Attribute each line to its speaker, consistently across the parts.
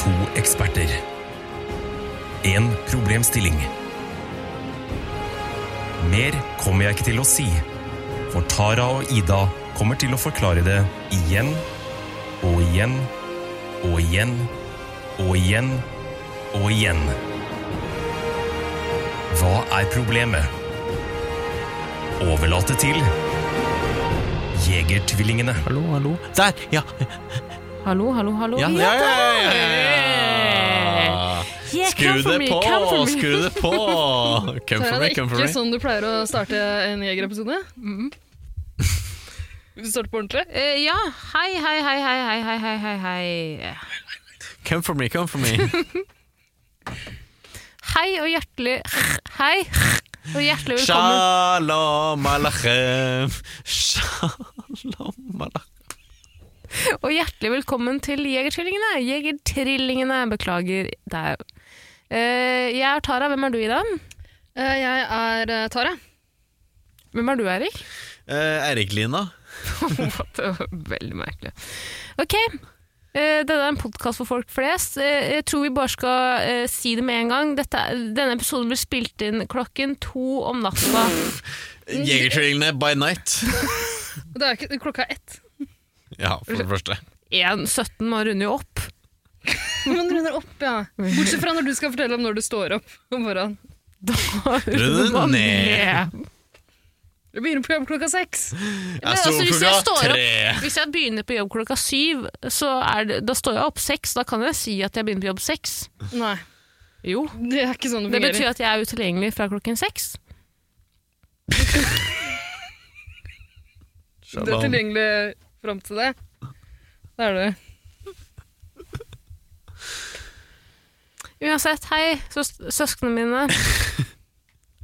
Speaker 1: To eksperter. En problemstilling. Mer kommer jeg ikke til å si, for Tara og Ida kommer til å forklare det igjen og igjen og igjen og igjen og igjen. Hva er problemet? Overlate til Jegertvillingene.
Speaker 2: Hallo, hallo. Der! Ja.
Speaker 3: Hallo, hallo, hallo.
Speaker 2: Ja, ja, ja, ja, ja.
Speaker 3: Yeah,
Speaker 2: Skru
Speaker 3: come for
Speaker 2: det
Speaker 3: me,
Speaker 2: på!
Speaker 3: come for me.
Speaker 2: Skru det på! Come
Speaker 4: Tara,
Speaker 2: for
Speaker 4: det
Speaker 2: me,
Speaker 4: er
Speaker 2: come for
Speaker 4: ikke
Speaker 2: me. Mm.
Speaker 4: sånn du pleier å starte en jegerepisode. Hvis du starter på ordentlig.
Speaker 3: Eh, ja, hei, hei, hei, hei, hei, hei, hei, hei, hei.
Speaker 2: Come for me, come for me.
Speaker 3: Hei og hjertelig Hei og hjertelig velkommen.
Speaker 2: Shalom alachem. Shalom alachem.
Speaker 3: Og hjertelig velkommen til Jegertvillingene. Jegertrillingene, beklager. Det er jo Eh, Jeg er Tara, hvem er du, Ida?
Speaker 4: Eh, Jeg er eh, Tara.
Speaker 3: Hvem er du, Erik?
Speaker 2: Eh, Erik Lina.
Speaker 3: What? Det var Veldig merkelig. Ok, eh, dette er en podkast for folk flest. Eh, Jeg tror vi bare skal eh, si det med en gang. Dette, er- denne episoden blir spilt inn klokken to om natta.
Speaker 4: Mm.
Speaker 2: Jegertvillingene by night.
Speaker 4: Det er ikke, klokka er ett.
Speaker 2: Ja, for det første.
Speaker 3: 1.17, man runder jo opp.
Speaker 4: Man runder opp, ja. Bortsett fra når du skal fortelle om når du står opp om morgenen.
Speaker 3: Da
Speaker 2: Runder
Speaker 3: runder man
Speaker 2: ned.
Speaker 3: ned.
Speaker 4: Du begynner på jobb klokka seks.
Speaker 3: Men
Speaker 2: Jeg sto
Speaker 3: altså,
Speaker 2: opp
Speaker 3: hvis jeg
Speaker 2: klokka
Speaker 3: står opp-
Speaker 2: tre.
Speaker 3: Hvis jeg begynner på jobb klokka syv, så er det, da står jeg opp seks. Da kan jeg si at jeg begynner på jobb seks.
Speaker 4: Nei,
Speaker 3: Jo.
Speaker 4: det er ikke sånn det
Speaker 3: Det
Speaker 4: fungerer.
Speaker 3: betyr at jeg er utilgjengelig fra klokken seks.
Speaker 4: Du er
Speaker 2: Shalom.
Speaker 4: tilgjengelig fram til det. Det er du.
Speaker 3: Uansett, hei, søs søsknene mine.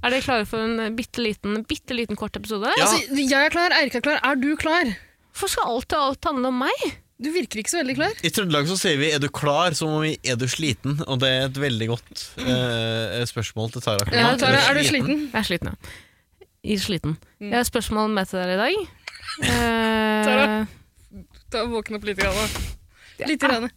Speaker 3: Er dere klare for en bitte liten, bitte liten kort episode?
Speaker 2: Ja.
Speaker 4: Altså, jeg er klar, Eirik er klar. Er du klar?
Speaker 3: Hvorfor skal alt og alt handle om meg?
Speaker 4: Du virker ikke så veldig klar.
Speaker 2: I Trøndelag så sier vi 'er du klar?' som om vi 'er du sliten?' Og det er et veldig godt eh, spørsmål til Tara.
Speaker 4: Ja, Tara, er du
Speaker 2: sliten?
Speaker 4: sliten?
Speaker 3: Jeg er sliten, ja. Jeg er sliten. Jeg har et spørsmål med til dere i dag. Eh,
Speaker 4: Tara. Ta Våkn opp litt. Grann, da.
Speaker 3: Eh,
Speaker 4: Litt grann.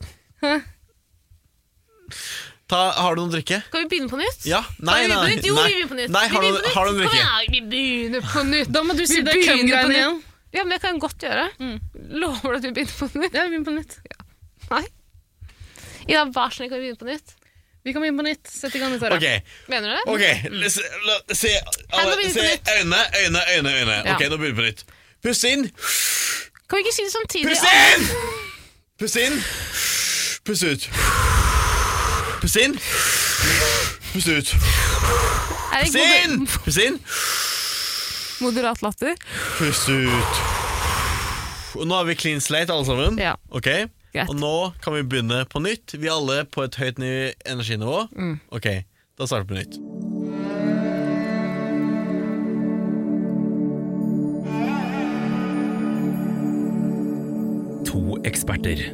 Speaker 2: Ta, har du noe å drikke?
Speaker 3: Skal vi begynne på nytt?
Speaker 2: Ja. Nei,
Speaker 3: Skal vi begynne på
Speaker 2: nei.
Speaker 3: nytt? Jo, vi begynner på nytt.
Speaker 2: Nei,
Speaker 3: Vi
Speaker 2: har du,
Speaker 3: begynner på nytt.
Speaker 2: har du noe å
Speaker 3: Kom
Speaker 2: drikke?
Speaker 3: igjen, vi begynner på nytt.
Speaker 4: Da må du si
Speaker 3: Vi
Speaker 4: det er
Speaker 3: begynner på
Speaker 4: køm-greiene
Speaker 3: nytt.
Speaker 4: igjen.
Speaker 3: Ja, men det kan jeg godt gjøre.
Speaker 4: Mm.
Speaker 3: Lover du at vi begynner på nytt?
Speaker 4: Ja, vi begynner på nytt.
Speaker 3: Ida, vær så snill, kan vi begynne på nytt?
Speaker 4: Vi kan begynne på nytt. Sett i gang, Tara.
Speaker 2: Ok,
Speaker 3: Mener du det? Mm.
Speaker 2: ok. La, se- la, se alle,
Speaker 3: begynner vi på
Speaker 2: se
Speaker 3: nytt.
Speaker 2: øyne, øyne, øyne. øyne.
Speaker 3: Ja.
Speaker 2: Ok, nå begynner vi på nytt. Pust inn,
Speaker 3: Kan vi ikke si det samtidig?
Speaker 2: pust inn! Pust inn, pust ut. Pust inn, pust ut.
Speaker 3: Er det
Speaker 2: Pust inn,
Speaker 3: god-
Speaker 2: pust inn,
Speaker 3: Moderat latter.
Speaker 2: pust ut. Og nå er vi clean slate, alle sammen.
Speaker 3: Ja.
Speaker 2: Ok?
Speaker 3: Greit.
Speaker 2: Og nå kan vi begynne på nytt. Vi er alle på et høyt ny- energinivå.
Speaker 3: Mm.
Speaker 2: Ok, da starter vi på nytt.
Speaker 1: To eksperter.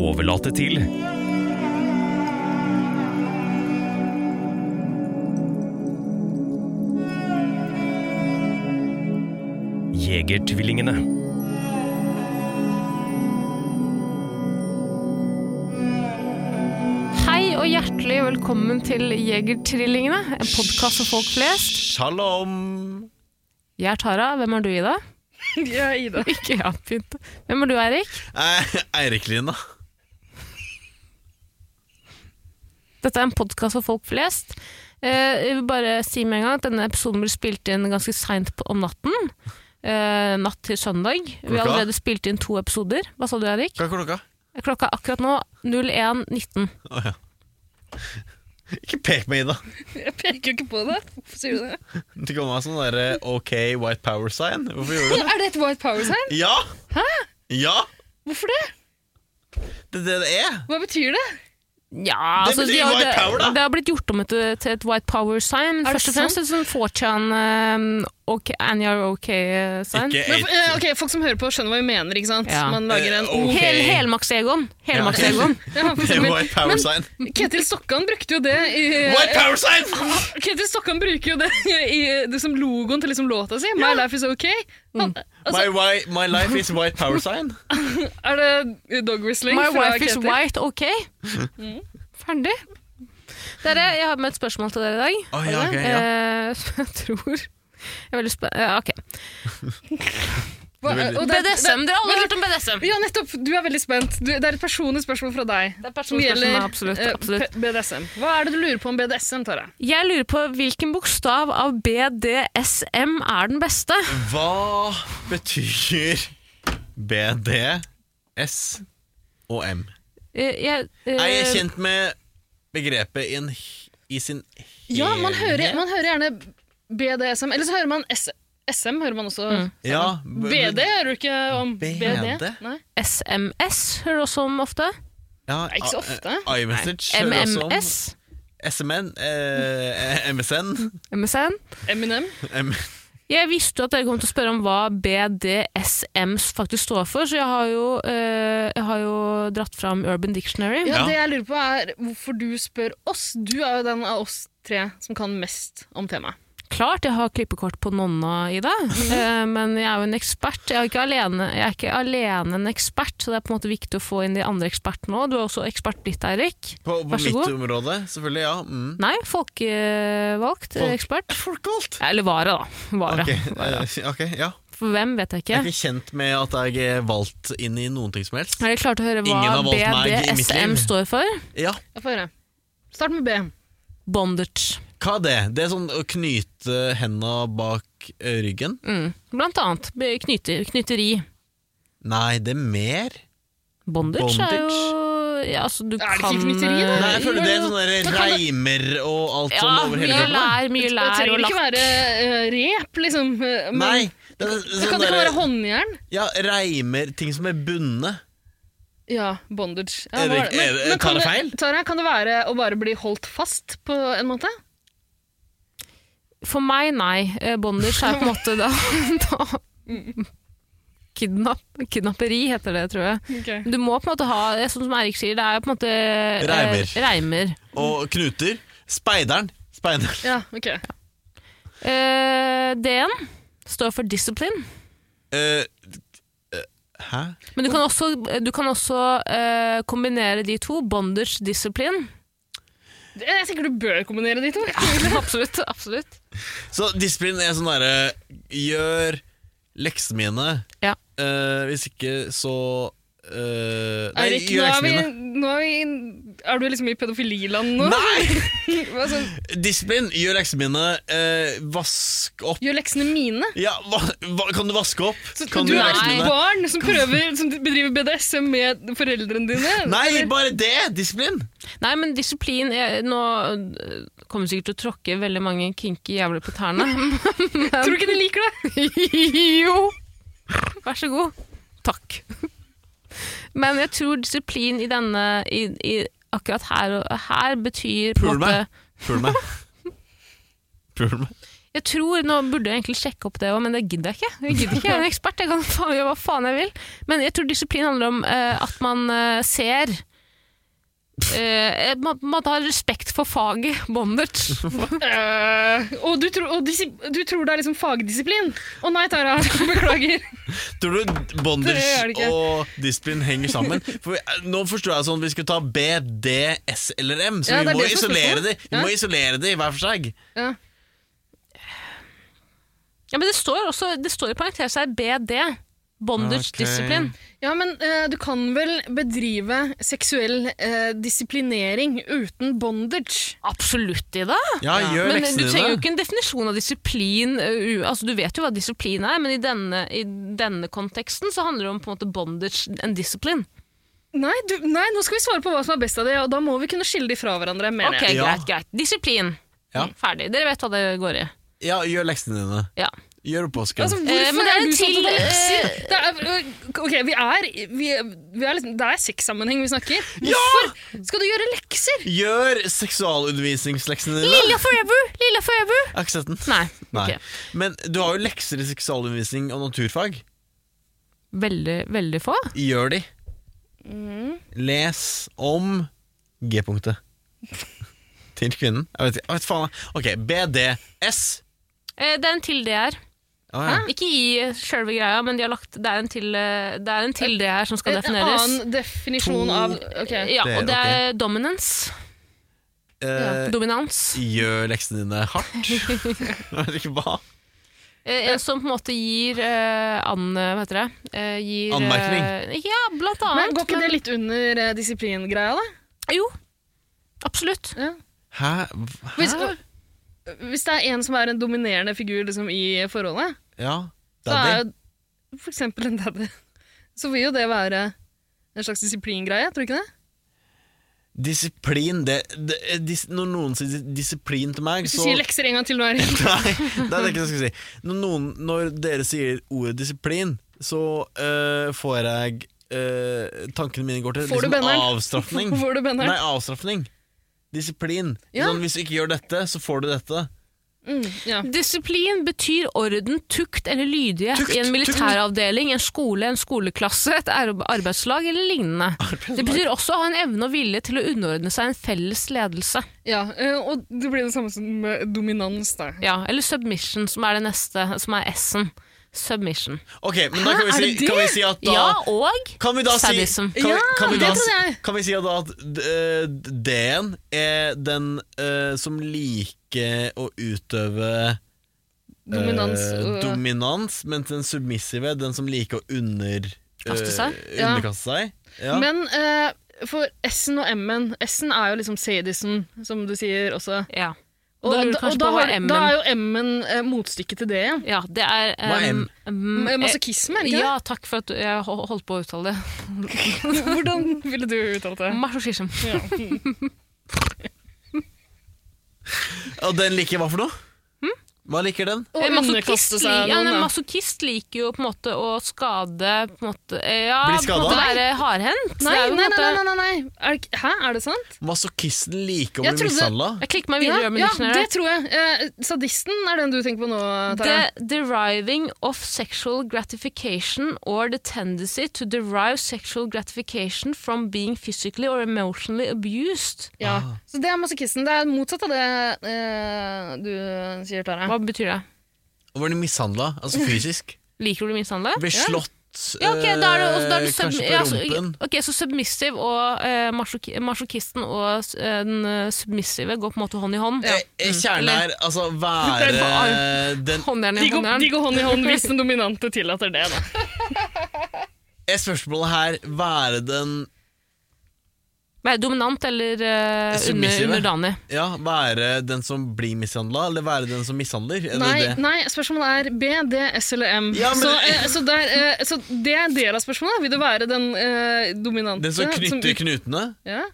Speaker 1: Overlate til Jegertvillingene.
Speaker 3: Hei og hjertelig velkommen til Jegertrillingene, en podkast for folk flest.
Speaker 2: Shalom!
Speaker 3: Jeg er Tara, hvem er du, Ida?
Speaker 4: Jeg er Ida.
Speaker 3: Ikke jeg, pynt. Hvem er du, Eirik?
Speaker 2: Eh, Eirik Lina.
Speaker 3: Dette er en podkast for folk flest. Eh, jeg vil bare si med en gang at denne episoden blir spilt inn ganske seint om natten. Eh, natt til søndag. Vi har
Speaker 2: Klokka?
Speaker 3: allerede spilt inn to episoder. Hva sa du, Eirik?
Speaker 2: Hva er klokka?
Speaker 3: Klokka er akkurat nå 01.19.
Speaker 2: Å ja. Ikke pek meg, Ida.
Speaker 4: Jeg peker jo ikke på det. Hvorfor sier du det?
Speaker 2: Du kom med sånn derre OK white power-sign. Hvorfor gjorde du det?
Speaker 4: Er det et white power-sign?
Speaker 2: Ja! Ja!
Speaker 4: Hvorfor det?
Speaker 2: Det er det det er.
Speaker 4: Hva betyr det?
Speaker 3: Ja,
Speaker 2: Det
Speaker 3: altså,
Speaker 2: betyr
Speaker 3: har-
Speaker 2: white power, da.
Speaker 3: Det har blitt gjort om et, til et white power-sign.
Speaker 4: det
Speaker 3: Først og fremst et sånn 4chan um, ok, Annie are OK-sign.
Speaker 2: Ikke
Speaker 4: Men,
Speaker 2: eight.
Speaker 4: eh, ok, Folk som hører på, skjønner hva vi mener. ikke sant?
Speaker 3: Ja.
Speaker 4: Man lager en
Speaker 2: Eh, ok.
Speaker 3: Hel, Helmaks-Egon. Helmaks-Egon.
Speaker 4: Ja,
Speaker 2: Det
Speaker 4: for
Speaker 2: er
Speaker 4: eksempel.
Speaker 2: white power-sign.
Speaker 4: Men Ketil Stokkan brukte jo det i eh,
Speaker 2: White power-sign!
Speaker 4: Ketil Stokkan bruker jo det i eh, det som logoen til liksom låta si. My life is ok.
Speaker 3: Mm.
Speaker 4: Han,
Speaker 2: My,
Speaker 4: altså,
Speaker 2: wi- my life is white power-sign.
Speaker 4: er det dog whistling
Speaker 3: My
Speaker 4: fra
Speaker 3: wife is
Speaker 4: Ketil? Mm.
Speaker 3: white, OK? Ferdig. Dere, jeg har med et spørsmål til dere i dag.
Speaker 2: Å, ja, ok, ja.
Speaker 3: Eh, som jeg tror Jeg er veldig spen... eh, ok.
Speaker 4: Hva,
Speaker 2: Det er veldig-
Speaker 4: og det er-
Speaker 3: BDSM. Dere har
Speaker 4: Men-
Speaker 3: aldri hørt om BDSM?
Speaker 4: Ja, nettopp! Du er veldig spent. Du, det er et personlig spørsmål fra deg.
Speaker 3: Det er
Speaker 4: Som
Speaker 3: personlig
Speaker 4: gjelder
Speaker 3: spørsmål, absolutt,
Speaker 4: eh,
Speaker 3: absolutt.
Speaker 4: P- BDSM. Hva er det du lurer på om BDSM, Tara?
Speaker 3: Jeg lurer på hvilken bokstav av BDSM er den beste?
Speaker 2: Hva betyr BD, S og M?
Speaker 3: Eh, jeg, eh,
Speaker 2: Er jeg kjent med begrepet i, en, h- i sin helhet?
Speaker 4: Ja, man hører, man hører gjerne BDSM. Eller så hører man S SM. hører man også
Speaker 3: Mm.
Speaker 2: Ja, b-
Speaker 4: BD hører du ikke om
Speaker 2: BD?
Speaker 4: BD? Nei.
Speaker 3: SMS hører du også om ofte.
Speaker 2: ja,
Speaker 4: Nei, ikke så ofte.
Speaker 2: I- iMessage hører jeg også om.
Speaker 3: MMS.
Speaker 2: SMN, eh, MSN
Speaker 3: MSN.
Speaker 4: Eminem.
Speaker 2: M
Speaker 3: Jeg visste jo at dere kom til å spørre om hva BDSM faktisk står for, så jeg har jo, eh, jeg har jo dratt fram Urban Dictionary.
Speaker 2: Ja.
Speaker 4: Ja, Det jeg lurer på, er hvorfor du spør oss. Du er jo den av oss tre som kan mest om temaet.
Speaker 3: Klart jeg har klippekort på nonna i det, eh, men jeg er jo en ekspert. Jeg er, ikke alene, jeg er ikke alene en ekspert, så det er på en måte viktig å få inn de andre ekspertene òg. Du er også ekspert blitt, Eirik.
Speaker 2: På, på
Speaker 3: Vær så
Speaker 2: mitt
Speaker 3: god.
Speaker 2: område, selvfølgelig. ja mm.
Speaker 3: Nei, folkevalgt eh,
Speaker 2: Folk-
Speaker 3: ekspert.
Speaker 2: Folkevalgt!
Speaker 3: Eller vare, da. Vare.
Speaker 2: Ok,
Speaker 3: vare.
Speaker 2: eh, ok, ja.
Speaker 3: For hvem, vet
Speaker 2: Jeg
Speaker 3: jeg ikke.
Speaker 2: er ikke kjent med at jeg er valgt inn i noen ting som helst.
Speaker 3: Er dere klare til å høre
Speaker 2: Ingen har
Speaker 3: hva
Speaker 2: valgt meg i mitt
Speaker 3: BDSM
Speaker 2: liv.
Speaker 3: står for?
Speaker 2: Ja,
Speaker 4: Jeg får høre. Start med B.
Speaker 3: Bondage.
Speaker 2: Hva er det? Det er sånn å knyte henda bak eh, ryggen?
Speaker 3: Mm. Blant annet be- knyte, knyteri.
Speaker 2: Nei, det er mer.
Speaker 3: Bondage, er
Speaker 2: Bondage?
Speaker 3: jo ja, altså, du
Speaker 4: Er det ikke
Speaker 3: kan,
Speaker 4: knyteri, da?
Speaker 3: eh,
Speaker 2: Nei, jeg føler det er
Speaker 4: jo,
Speaker 2: sånne der
Speaker 4: da kan det-
Speaker 2: reimer og alt
Speaker 3: Ja,
Speaker 2: sånn over hele
Speaker 3: mye
Speaker 2: kroppen.
Speaker 3: lær, mye
Speaker 4: det
Speaker 3: lær
Speaker 4: trenger
Speaker 3: og
Speaker 4: ikke
Speaker 3: lakk.
Speaker 4: være eh, rep, liksom. eh, Men
Speaker 2: Nei, det er
Speaker 4: det kan
Speaker 2: sånn
Speaker 4: det ikke være
Speaker 2: derre
Speaker 4: håndjern?
Speaker 2: Ja, reimer, ting som er bundet.
Speaker 4: Ja, bondage. Ja,
Speaker 2: Er det-
Speaker 4: hva
Speaker 2: er det- tar
Speaker 4: kan
Speaker 2: jeg feil?
Speaker 4: Tara, kan det være å bare bli holdt fast på en måte?
Speaker 3: For meg, nei. Eh, Bondage er på en måte da, da Kidnap, Kidnapperi heter det, tror jeg. Du må på en måte ha, eh, sånn som Eirik sier, det er jo på en måte eh,
Speaker 2: Reimer.
Speaker 3: reimer.
Speaker 2: Og knuter. Speideren. Speideren.
Speaker 4: Ja, ok.
Speaker 3: Eh, D-en står for discipline.
Speaker 2: Eh, eh, hæ?
Speaker 3: Men du kan også, du kan også eh, kombinere de to. Bondage, disiplin.
Speaker 4: Jeg tenker du bør kombinere de to.
Speaker 3: absolutt. absolutt.
Speaker 2: Så disiplin er sånn derre Gjør leksene mine.
Speaker 3: Ja.
Speaker 2: Eh, hvis ikke, så eh, Nei,
Speaker 4: Eirik, nå
Speaker 2: gjør
Speaker 4: er,
Speaker 2: leksene
Speaker 4: vi,
Speaker 2: mine.
Speaker 4: nå er vi Er du liksom i pedofililand nå?
Speaker 2: Nei!
Speaker 4: Hva sånn,
Speaker 2: Disiplin, gjør leksene mine. eh, vask opp.
Speaker 4: Gjør leksene mine?
Speaker 2: Ja, hva, hva, kan du vaske opp?
Speaker 4: Så
Speaker 2: Kan
Speaker 4: du
Speaker 2: gjøre
Speaker 4: er
Speaker 3: ikke
Speaker 4: et
Speaker 2: leksene dine?
Speaker 4: barn som, prøver, som bedriver BDSM med foreldrene dine?
Speaker 2: Nei,
Speaker 4: Eller-
Speaker 2: bare det! Disiplin!
Speaker 3: Nei, men disiplin er, Nå øh, kommer vi sikkert til å tråkke veldig mange kinky jævler på tærne.
Speaker 4: Tror du ikke de liker det?
Speaker 3: jo! Vær så god. Takk. Men jeg tror disiplin i denne i, i Akkurat her, og- her betyr på en
Speaker 2: Pul meg.
Speaker 3: måte-
Speaker 2: Pul meg. Pul meg.
Speaker 3: Jeg tror, Nå burde jeg egentlig sjekke opp det òg, men det gidder jeg ikke. Jeg gidder ikke, jeg er en ekspert, jeg kan faen gjøre hva faen jeg vil. Men jeg tror disiplin handler om eh, at man eh, ser eh, Man, man har respekt for faget bondage.
Speaker 4: Eh, og du, tror- og disi, du tror det er liksom fagdisiplin? Å nei, Tara. Beklager.
Speaker 2: Tror du
Speaker 4: Det gjør det
Speaker 2: bondage
Speaker 4: ikke.
Speaker 2: og disiplin henger sammen? For eh, Nå forstår jeg sånn vi skulle ta B, D, S eller M, så
Speaker 4: Ja,
Speaker 2: vi
Speaker 4: det er
Speaker 2: må
Speaker 4: det som er
Speaker 2: isolere
Speaker 4: spørsmålet.
Speaker 2: de Vi
Speaker 4: Ja.
Speaker 2: må isolere de hver for seg.
Speaker 4: Ja.
Speaker 3: Ja, men det står også det står i parentes her BD. Bondage
Speaker 2: Ok.
Speaker 3: disiplin.
Speaker 4: Ja, men eh, du kan vel bedrive seksuell eh, disiplinering uten bondage?
Speaker 3: Absolutt i det.
Speaker 2: Ja, gjør
Speaker 4: eh,
Speaker 3: Men du
Speaker 2: leksene
Speaker 3: trenger jo
Speaker 2: dine.
Speaker 3: ikke en definisjon av disiplin. ø, u- Altså, du vet jo hva disiplin er, men i denne, i denne konteksten så handler det om på en måte bondage and discipline.
Speaker 4: Nei, du, nei, nå skal vi svare på hva som er best av det, og da må vi kunne skille de fra hverandre. mener
Speaker 3: Ok,
Speaker 4: jeg.
Speaker 2: Ja.
Speaker 3: greit, greit. Disiplin.
Speaker 2: Ja.
Speaker 3: Ferdig. Dere vet hva det går i.
Speaker 2: Ja, gjør leksene dine.
Speaker 3: Ja.
Speaker 2: Gjør oppvasken.
Speaker 4: Altså,
Speaker 3: Eh,
Speaker 4: hvorfor
Speaker 3: men det er
Speaker 4: er
Speaker 3: en
Speaker 4: du sånn
Speaker 3: til,
Speaker 4: til lekser?
Speaker 3: eh,
Speaker 4: Det er, øh, ok, vi er, vi, vi er liksom, Det er sexsammenheng vi snakker. Hvorfor skal du gjøre lekser?
Speaker 2: gjør seksualundervisningsleksene dine!
Speaker 3: Lilla forever! Lilla forever!
Speaker 2: Jeg har ikke sett den.
Speaker 3: Nei.
Speaker 2: Nei.
Speaker 3: ok.
Speaker 2: Men du har jo lekser i seksualundervisning og naturfag.
Speaker 3: Veldig, veldig få.
Speaker 2: Gjør de.
Speaker 4: Mm.
Speaker 2: Les om G-punktet. Til kvinnen. Jeg vet, ikke- jeg vet faen. Ok, BDS.
Speaker 3: Eh, Det er en til det her.
Speaker 2: Å, ja.
Speaker 3: Ikke i sjølve greia, men de har lagt, det er en til, eh, det er en til det her som skal
Speaker 4: Eh, En
Speaker 3: defineres.
Speaker 4: annen definisjon
Speaker 2: To-
Speaker 4: av ok.
Speaker 3: Ja, og det er dominance.
Speaker 2: Eh,
Speaker 3: Dominans.
Speaker 2: gjør leksene dine hardt. Jeg vet ikke hva.
Speaker 3: Eh, En som på en måte gir eh, an... Hva heter det? Eh, gir, eh,
Speaker 2: Anmerkning.
Speaker 3: Ja, blant annet.
Speaker 4: Men Går ikke det litt under eh, disiplingreia, da?
Speaker 3: litt Jo. Absolutt.
Speaker 4: Ja.
Speaker 2: Hæ?
Speaker 4: Hvis,
Speaker 2: Hæ?
Speaker 4: hvis det er en som er en dominerende figur liksom, i forholdet,
Speaker 2: Ja,
Speaker 4: så er
Speaker 2: daddy.
Speaker 4: jo for eksempel en daddy Så vil jo det være en slags disiplingreie, tror du ikke det?
Speaker 2: Disiplin det, det, eh, dis, Når noen sier dis- disiplin til meg,
Speaker 4: Hvis
Speaker 2: så
Speaker 4: du sier lekser en gang til nå, Erik.
Speaker 2: Nei, det er det ikke jeg skulle si. Når, noen, når dere sier ordet disiplin, så øh, får jeg øh, Tankene mine går til
Speaker 4: Får du benneren?
Speaker 2: avstraffning.
Speaker 4: Får du benneren?
Speaker 2: Nei, avstraffning. Disiplin.
Speaker 4: Ja.
Speaker 2: Sånn, hvis du ikke gjør dette, så får du dette.
Speaker 4: Mm, ja.
Speaker 3: Disiplin betyr orden, tukt eller lydighet
Speaker 2: Tukt,
Speaker 3: i en
Speaker 2: tukt.
Speaker 3: militæravdeling, en skole, en skoleklasse, et arbe- arbeidslag eller lignende. Det betyr også å ha en evne og vilje til å underordne seg en felles ledelse.
Speaker 4: ja. eh, Og det blir det samme som med dominans, da.
Speaker 3: Ja, eller submission, som er det neste, som er S-en. Submission.
Speaker 2: Ok, men da
Speaker 4: Hæ,
Speaker 2: kan vi,
Speaker 4: er
Speaker 2: si,
Speaker 4: det det?
Speaker 2: kan vi si at da
Speaker 3: Ja, og
Speaker 2: Kan vi da si
Speaker 3: Sadism.
Speaker 2: kan, vi- kan vi
Speaker 4: Ja,
Speaker 2: da,
Speaker 4: det
Speaker 2: si-
Speaker 4: trodde jeg.
Speaker 2: Kan vi si da at øh, D-en er den øh, som liker å utøve
Speaker 4: Dominans
Speaker 2: Eh,
Speaker 3: øh.
Speaker 4: og
Speaker 2: dominans, mens den submissive, den som liker å under, eh,
Speaker 3: Kaste seg?
Speaker 4: Ja.
Speaker 2: underkaste seg. Ja.
Speaker 4: Men eh, for S-en og M-en S-en er jo liksom sadism, som du sier også.
Speaker 3: Ja.
Speaker 4: Og,
Speaker 3: da lurer du
Speaker 4: da, og
Speaker 3: kanskje
Speaker 4: da,
Speaker 3: på hva
Speaker 4: har,
Speaker 3: M-en
Speaker 4: da er jo M-en eh, motstykket til det igjen.
Speaker 3: Ja, det er
Speaker 2: Hva er M?
Speaker 3: um, eh,
Speaker 4: Masochisme, er det ikke
Speaker 3: Ja, takk for at du- jeg ho- holdt på å uttale det.
Speaker 4: det? Hvordan ville du uttalt det?
Speaker 3: Masochism.
Speaker 4: Ja.
Speaker 2: Og den liker hva for noe?
Speaker 3: Hm?
Speaker 2: Hva liker den?
Speaker 4: Å
Speaker 3: Eh,
Speaker 4: underkaste
Speaker 3: li-
Speaker 4: seg
Speaker 3: ja, nei,
Speaker 4: noen, da.
Speaker 3: masochist liker jo på en måte å skade på en måte, eh, Ja,
Speaker 2: Bli
Speaker 3: på en måte
Speaker 2: skadet?
Speaker 3: være hardhendt.
Speaker 4: Nei,
Speaker 3: Det er jo på en
Speaker 4: nei, nei,
Speaker 3: måte-
Speaker 4: nei, nei, nei. Er det, ikke- hæ, er det sant?
Speaker 2: Masochisten liker å
Speaker 4: Jeg
Speaker 2: bli
Speaker 4: trodde-
Speaker 2: mishandla.
Speaker 3: Jeg klikker meg videre i Urban
Speaker 4: ja, det
Speaker 3: Dictionary.
Speaker 4: tror jeg. Eh, sadisten er den du tenker på nå, Tara.
Speaker 3: The deriving of sexual gratification or the tendency to derive sexual gratification from being physically or emotionally abused.
Speaker 4: Ja.
Speaker 2: Ah.
Speaker 4: Så det er masochisten. Det er motsatt av det eh, du sier, Tara.
Speaker 3: Hva betyr det?
Speaker 2: Og var de mishandla, altså fysisk.
Speaker 3: Liker du å bli mishandla?
Speaker 2: Blir slått,
Speaker 3: Ja, ok, da er det, og da er
Speaker 2: eh,
Speaker 3: det sub,
Speaker 2: kanskje på
Speaker 3: ja, altså, så,
Speaker 2: rumpen.
Speaker 3: ok, så submissive og eh, masoki- masochisten og eh, den eh, submissive går på en måte hånd i hånd.
Speaker 2: Eh, eh, Kjernen
Speaker 3: Eller-
Speaker 2: er altså
Speaker 4: Det er
Speaker 2: være den
Speaker 3: Håndjern i
Speaker 4: De går,
Speaker 3: håndjern.
Speaker 4: de går hånd i hånd hvis den dominante tillater det, da.
Speaker 2: Er spørsmålet her være den
Speaker 3: Nei, dominant eller eh, under,
Speaker 2: Submissive.
Speaker 3: underdanig.
Speaker 2: Ja, være den som blir mishandla, eller være den som mishandler? Er det
Speaker 4: Nei,
Speaker 2: det?
Speaker 4: nei, spørsmålet er B, D, S eller M.
Speaker 2: Ja, men-
Speaker 4: så, eh, så, der, eh, så det er en del av spørsmålet. Vil du være den eh, dominante?
Speaker 2: Den som knytter knutene?
Speaker 4: ja.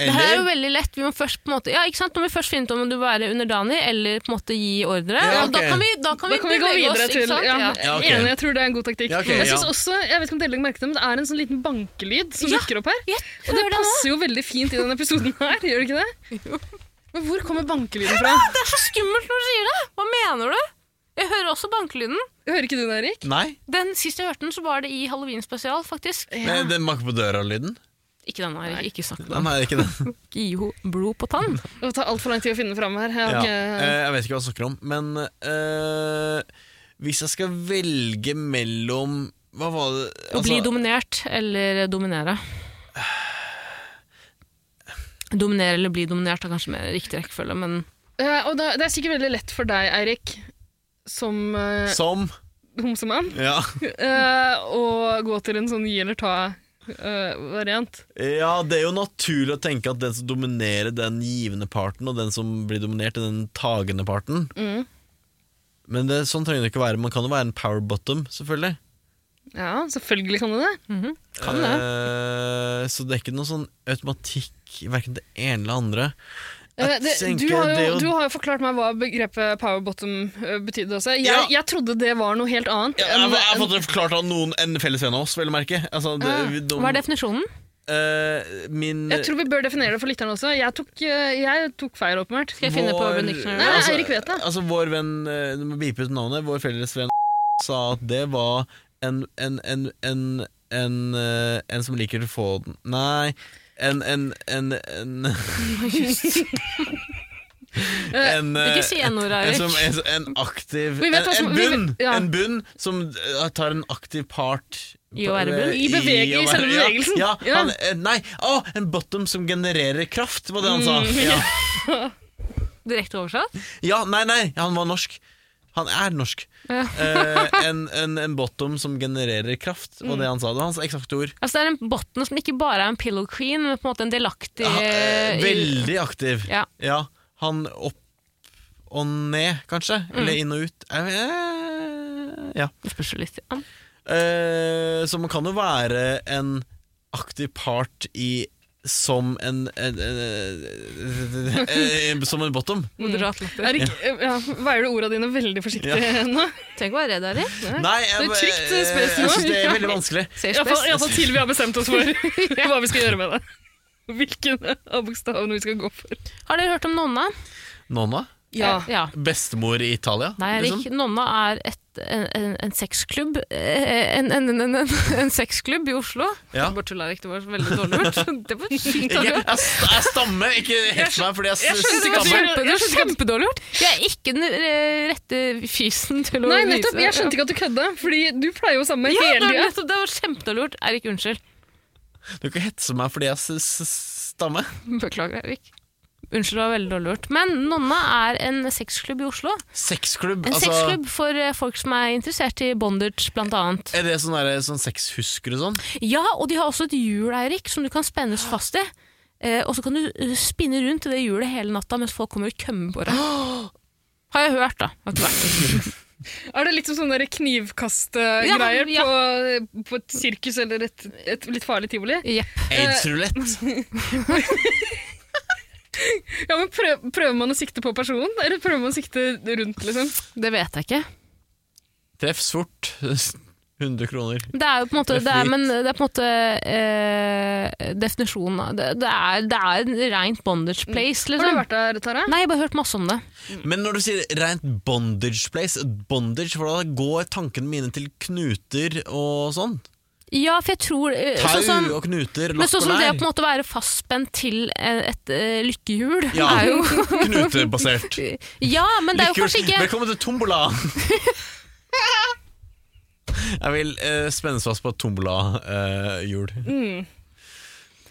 Speaker 3: Det her er jo
Speaker 2: Eller
Speaker 3: veldig lett. Vi må først på en måte Ja, ikke sant? Når vi først finner ut om du vil være underdanig eller på en måte gi ordre,
Speaker 2: Ja,
Speaker 3: og da
Speaker 2: ok.
Speaker 3: kan vi, da kan
Speaker 4: Da
Speaker 3: vi
Speaker 4: kan vi gå
Speaker 3: bevege
Speaker 4: videre
Speaker 3: oss,
Speaker 4: til
Speaker 3: ikke sant?
Speaker 4: ja,
Speaker 3: Ja.
Speaker 2: Ja, ok.
Speaker 4: Enig, jeg tror det er en god taktikk.
Speaker 2: Ja, ok,
Speaker 4: jeg
Speaker 2: ja.
Speaker 4: synes også, jeg vet ikke om dere legger merke til det, men det er en sånn liten bankelyd som
Speaker 3: Ja.
Speaker 4: dukker opp her.
Speaker 3: Jeg
Speaker 4: Og det
Speaker 3: hører det nå.
Speaker 4: passer jo veldig fint i denne episoden her, gjør det ikke det? Men hvor kommer bankelyden fra?
Speaker 3: Det er så skummelt når du sier det! Hva mener du? Jeg hører også bankelyden.
Speaker 4: Hører ikke du den, Erik?
Speaker 2: Nei?
Speaker 3: Den Sist jeg hørte den, så var det i Halloween spesial, faktisk.
Speaker 2: Nei, Den banker på døra-lyden?
Speaker 3: Ikke den her, ikke snakk om
Speaker 2: Nei, nei, ikke den.
Speaker 3: Ikke Gi henne blod på tann.
Speaker 4: Det tar altfor lang tid å finne fram her. Jeg
Speaker 2: Ja.
Speaker 4: har
Speaker 2: eh, Jeg vet ikke hva jeg snakker om, men eh, hvis jeg skal velge mellom Hva var det altså,
Speaker 3: Å bli dominert eller dominere. Dominere eller bli dominert er kanskje mer riktig rekkefølge, men
Speaker 4: ikke, eh, og da, det er sikkert veldig lett for deg, Eirik, som eh,
Speaker 2: Som
Speaker 4: homsemann,
Speaker 2: ja.
Speaker 4: eh, å gå til en sånn gi eller eh, ta-variant.
Speaker 2: ja, det er jo naturlig å tenke at den som dominerer den givende parten, og den som blir dominert, er den tagende
Speaker 4: Mm.
Speaker 2: parten. Men det, sånn trenger det ikke å være. Man kan jo være en power bottom, selvfølgelig.
Speaker 4: Ja, selvfølgelig kan du det.
Speaker 3: Kan det.
Speaker 2: Eh, så det er ikke noe sånn automatikk i verken det ene eller det andre.
Speaker 4: Eh,
Speaker 2: Jeg
Speaker 4: Det, du,
Speaker 2: tenker
Speaker 4: har
Speaker 2: det
Speaker 4: jo,
Speaker 2: å-
Speaker 4: du har jo forklart meg hva begrepet power bottom eh, betydde også. Jeg,
Speaker 2: Ja.
Speaker 4: jeg trodde det var noe helt annet.
Speaker 2: Ja, jeg,
Speaker 4: enn-
Speaker 2: jeg har fått det forklart av noen en felles venn av oss, vel å merke. Altså, det,
Speaker 4: Ah,
Speaker 2: vi- de-
Speaker 3: Hva er definisjonen?
Speaker 2: eh, min
Speaker 4: jeg tror vi bør definere det for lytterne også. Jeg tok, eh, jeg tok feil, åpenbart.
Speaker 3: Skal jeg finne på
Speaker 2: vår-
Speaker 3: Urban Dictionary?
Speaker 4: Nei, Eirik vet det.
Speaker 2: Altså, vår venn, eh, du må bipe ut navnet, vår felles venn sa at det var en en, en, en, en, eh, en som liker å få den Nei, en En, en, en, en, eh,
Speaker 3: Ikke si n-ordet,
Speaker 2: En, som,
Speaker 3: Eirik.
Speaker 2: en, en aktiv
Speaker 4: Vi
Speaker 2: en,
Speaker 4: vet hva som-
Speaker 2: en
Speaker 4: vi
Speaker 2: bunn!
Speaker 4: vet- ja.
Speaker 2: En bunn som eh, tar en aktiv part
Speaker 3: I å være bunn?
Speaker 4: I bevege-
Speaker 2: å
Speaker 4: i selve
Speaker 2: ja,
Speaker 4: bevegelsen.
Speaker 2: Ja,
Speaker 4: Ja.
Speaker 2: Han, eh, nei, å, en bottom som genererer kraft, var det han sa.
Speaker 4: Mm,
Speaker 2: Ja.
Speaker 3: Direkte oversatt?
Speaker 2: ja, nei, nei, han var norsk. Han er norsk.
Speaker 3: Ja.
Speaker 2: Eh, en, en, en bottom som genererer kraft, var det han sa. Det var hans eksakte ord.
Speaker 3: Altså Det er en bottom som ikke bare er en pillow queen, men på en måte en delaktig
Speaker 2: Han, eh, veldig aktiv.
Speaker 3: Ja.
Speaker 2: Han opp og ned, kanskje? Eller inn og ut? Eh, ja.
Speaker 3: Det spørs jo litt.
Speaker 2: Mm.
Speaker 3: Ja.
Speaker 2: Eh, Så man kan jo være en aktiv part i som en, en, en, eh, eh, Som en bottom.
Speaker 3: Moderat latter.
Speaker 4: Erik, eh, ja, veier du ordene dine veldig forsiktig nå?
Speaker 3: Trenger ikke å være redd, Eirik.
Speaker 2: Nei, jeg,
Speaker 4: Det er trygt,
Speaker 2: eh,
Speaker 4: spes
Speaker 2: jeg
Speaker 4: nå.
Speaker 2: synes det er veldig vanskelig.
Speaker 3: Ser spes.
Speaker 4: Iallfall til vi har bestemt oss for hva vi skal gjøre med det. Hvilken av bokstavene vi skal gå for.
Speaker 3: Har dere hørt om nonna?
Speaker 2: Nonna?
Speaker 4: Ja.
Speaker 3: ja.
Speaker 2: Bestemor i Italia?
Speaker 3: Nei, Erik.
Speaker 2: liksom?
Speaker 3: Nonna er et, en, en, en sexklubb eh, en, en, en, en, en sexklubb i Oslo.
Speaker 2: Ja.
Speaker 3: Bare tull, Erik. Det var veldig dårlig gjort. Det var sykt
Speaker 2: Ikke,
Speaker 3: dårlig gjort.
Speaker 2: jeg, st- jeg stammer, ikke hets meg fordi jeg,
Speaker 4: jeg
Speaker 2: s-
Speaker 4: skjønner
Speaker 3: Det
Speaker 4: ikke
Speaker 3: var
Speaker 4: hva du
Speaker 2: stammer.
Speaker 3: kjempe-
Speaker 4: gjør.
Speaker 3: det var kjempedårlig gjort. Jeg er ikke den eh, rette fysen til å
Speaker 4: Nei,
Speaker 3: vise
Speaker 4: nettopp. Jeg skjønte ikke at du kødda, fordi du pleier jo samme
Speaker 3: ja, det,
Speaker 4: hele
Speaker 3: var
Speaker 4: tida.
Speaker 3: nettopp, det var kjempedårlig gjort. Eirik, unnskyld.
Speaker 2: Du kan ikke hetse meg fordi jeg s- s- stammer.
Speaker 3: Beklager, Eirik. Unnskyld, det var veldig dårlig gjort. Men Nonna er en sexklubb i Oslo.
Speaker 2: Sexklubb.
Speaker 3: En
Speaker 2: Altså,
Speaker 3: sexklubb for eh, folk som er interessert i bondage, blant annet.
Speaker 2: er det sånn, der, sånn sexhusker og sånn?
Speaker 3: Ja, og de har også et hjul, Eirik, som du kan spennes fast i. Eh, og så kan du eh, spinne rundt i det hjulet hele natta mens folk kommer og kømmer på deg. Har jeg hørt, da. Har ikke vært der.
Speaker 4: Er det litt som sånne
Speaker 3: Ja,
Speaker 4: knivkastgreier
Speaker 3: ja.
Speaker 4: på, på et sirkus eller et, et litt farlig tivoli?
Speaker 3: Jepp.
Speaker 2: Aids-rulett.
Speaker 4: Ja, men prøv, Prøver man å sikte på personen, eller prøver man å sikte rundt? liksom?
Speaker 3: Det vet jeg ikke.
Speaker 2: Treff sort. 100 kroner.
Speaker 3: Det er jo på en måte,
Speaker 2: Det er
Speaker 3: det er,
Speaker 2: flit.
Speaker 3: men det er på en måte eh, definisjonen av det, det, er, det er en rent bondage place,
Speaker 4: Har du
Speaker 3: liksom.
Speaker 4: vært der, Tara?
Speaker 3: Nei, jeg har bare hørt masse om det.
Speaker 2: Men når du sier rent bondage place Bondage, for da går tankene mine til knuter og sånn.
Speaker 3: Ja, for jeg tror eh,
Speaker 2: Tau
Speaker 3: sånn som,
Speaker 2: og knuter,
Speaker 3: Men
Speaker 2: lokk
Speaker 3: sånn
Speaker 2: og
Speaker 3: som det å på en
Speaker 2: lær.
Speaker 3: måte være fastspent til eh, et eh, lykkehjul,
Speaker 2: Ja.
Speaker 3: er jo
Speaker 2: Knutebasert.
Speaker 3: Ja, men det er jo kanskje ikke
Speaker 2: Velkommen til tombola! Jeg vil eh, spennes fast på eh, tombola-hjul.
Speaker 3: Mm,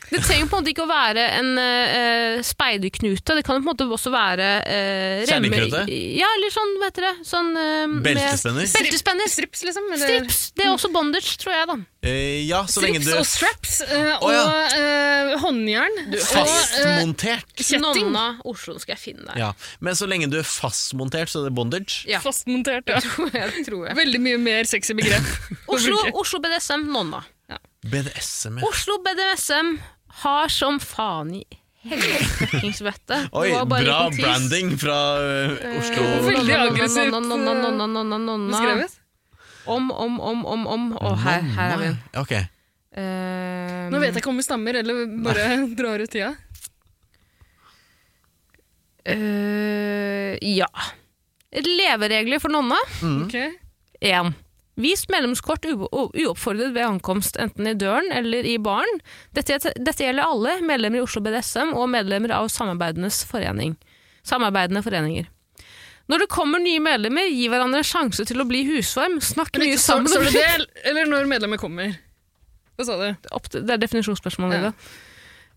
Speaker 3: Det trenger på en måte ikke å være en uh, speiderknute. Det kan jo på en måte også være uh,
Speaker 2: Kjerringknute?
Speaker 3: Ja, eller sånn, vet dere. Sånn, eh, med-
Speaker 2: Beltespenner?
Speaker 3: Beltespenner.
Speaker 4: Strips, liksom? Eller?
Speaker 3: Strips. Det er også bondage, tror jeg, da.
Speaker 2: Eh, ja, så lenge
Speaker 4: Strips
Speaker 2: du
Speaker 4: og straps eh,
Speaker 2: Å,
Speaker 4: og
Speaker 2: ja.
Speaker 4: eh, håndjern. og eh,
Speaker 2: Fastmontert.
Speaker 4: kjetting.
Speaker 3: Nonna Oslo skal jeg finne deg.
Speaker 2: Ja. Men så lenge du er fastmontert, så er det bondage.
Speaker 3: Ja.
Speaker 4: Fastmontert, ja.
Speaker 3: Jeg tror jeg.
Speaker 4: Veldig mye mer sexy begrep.
Speaker 3: Oslo, Oslo BDSM, Nonna.
Speaker 2: BDSM.
Speaker 3: Oslo BDSM har som faen i helvetings vettet. Det
Speaker 2: Oi,
Speaker 3: var bare
Speaker 2: bra
Speaker 3: en tis.
Speaker 2: branding fra eh, Oslo.
Speaker 4: Veldig
Speaker 3: Nonna, nonna,
Speaker 4: aggressivt,
Speaker 3: nonna, nonna, nonna, nonna, nonna.
Speaker 4: Beskrevet.
Speaker 3: Om, om, om, om, om. Og her, her er vi.
Speaker 2: Ja, ok.
Speaker 3: Eh,
Speaker 4: Nå vet jeg ikke om vi stammer eller bare drar ut tida.
Speaker 3: Eh, ja. Leveregler for nonna.
Speaker 2: Mm.
Speaker 4: Ok.
Speaker 3: 1. Vis medlemskort u- u- uoppfordret ved ankomst, enten i døren eller i baren. Dette, dette gjelder alle medlemmer i Oslo BDSM og medlemmer av samarbeidenes forening. samarbeidende foreninger. Når det kommer nye medlemmer, gi hverandre en sjanse til å bli husvarm. Snakk mye
Speaker 4: Riktig, står,
Speaker 3: sammen.
Speaker 4: står det det, eller når medlemmet kommer? Hva sa du?
Speaker 3: Opp til- Det er definisjonsspørsmålet.
Speaker 4: Ja.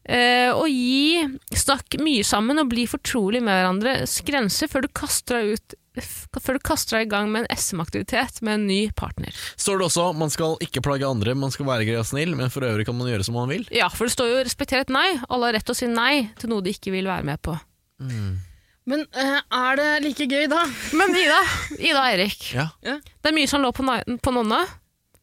Speaker 3: Ja. og gi Snakk mye sammen og bli fortrolig med hverandres grenser før du kaster deg ut f- før du kaster deg i gang med en SM-aktivitet med en ny partner.
Speaker 2: Står det også man skal ikke plage andre, man skal være grei og snill, men for øvrig kan man gjøre som man vil?
Speaker 3: Ja, for det står jo 'respekter et nei'. Alle har rett til å si nei til noe de ikke vil være med på.
Speaker 4: Men eh, er det like gøy da?
Speaker 3: Men Ida Ida og Eirik.
Speaker 2: Ja.
Speaker 3: Det er mye som lå på, nei- på nonna,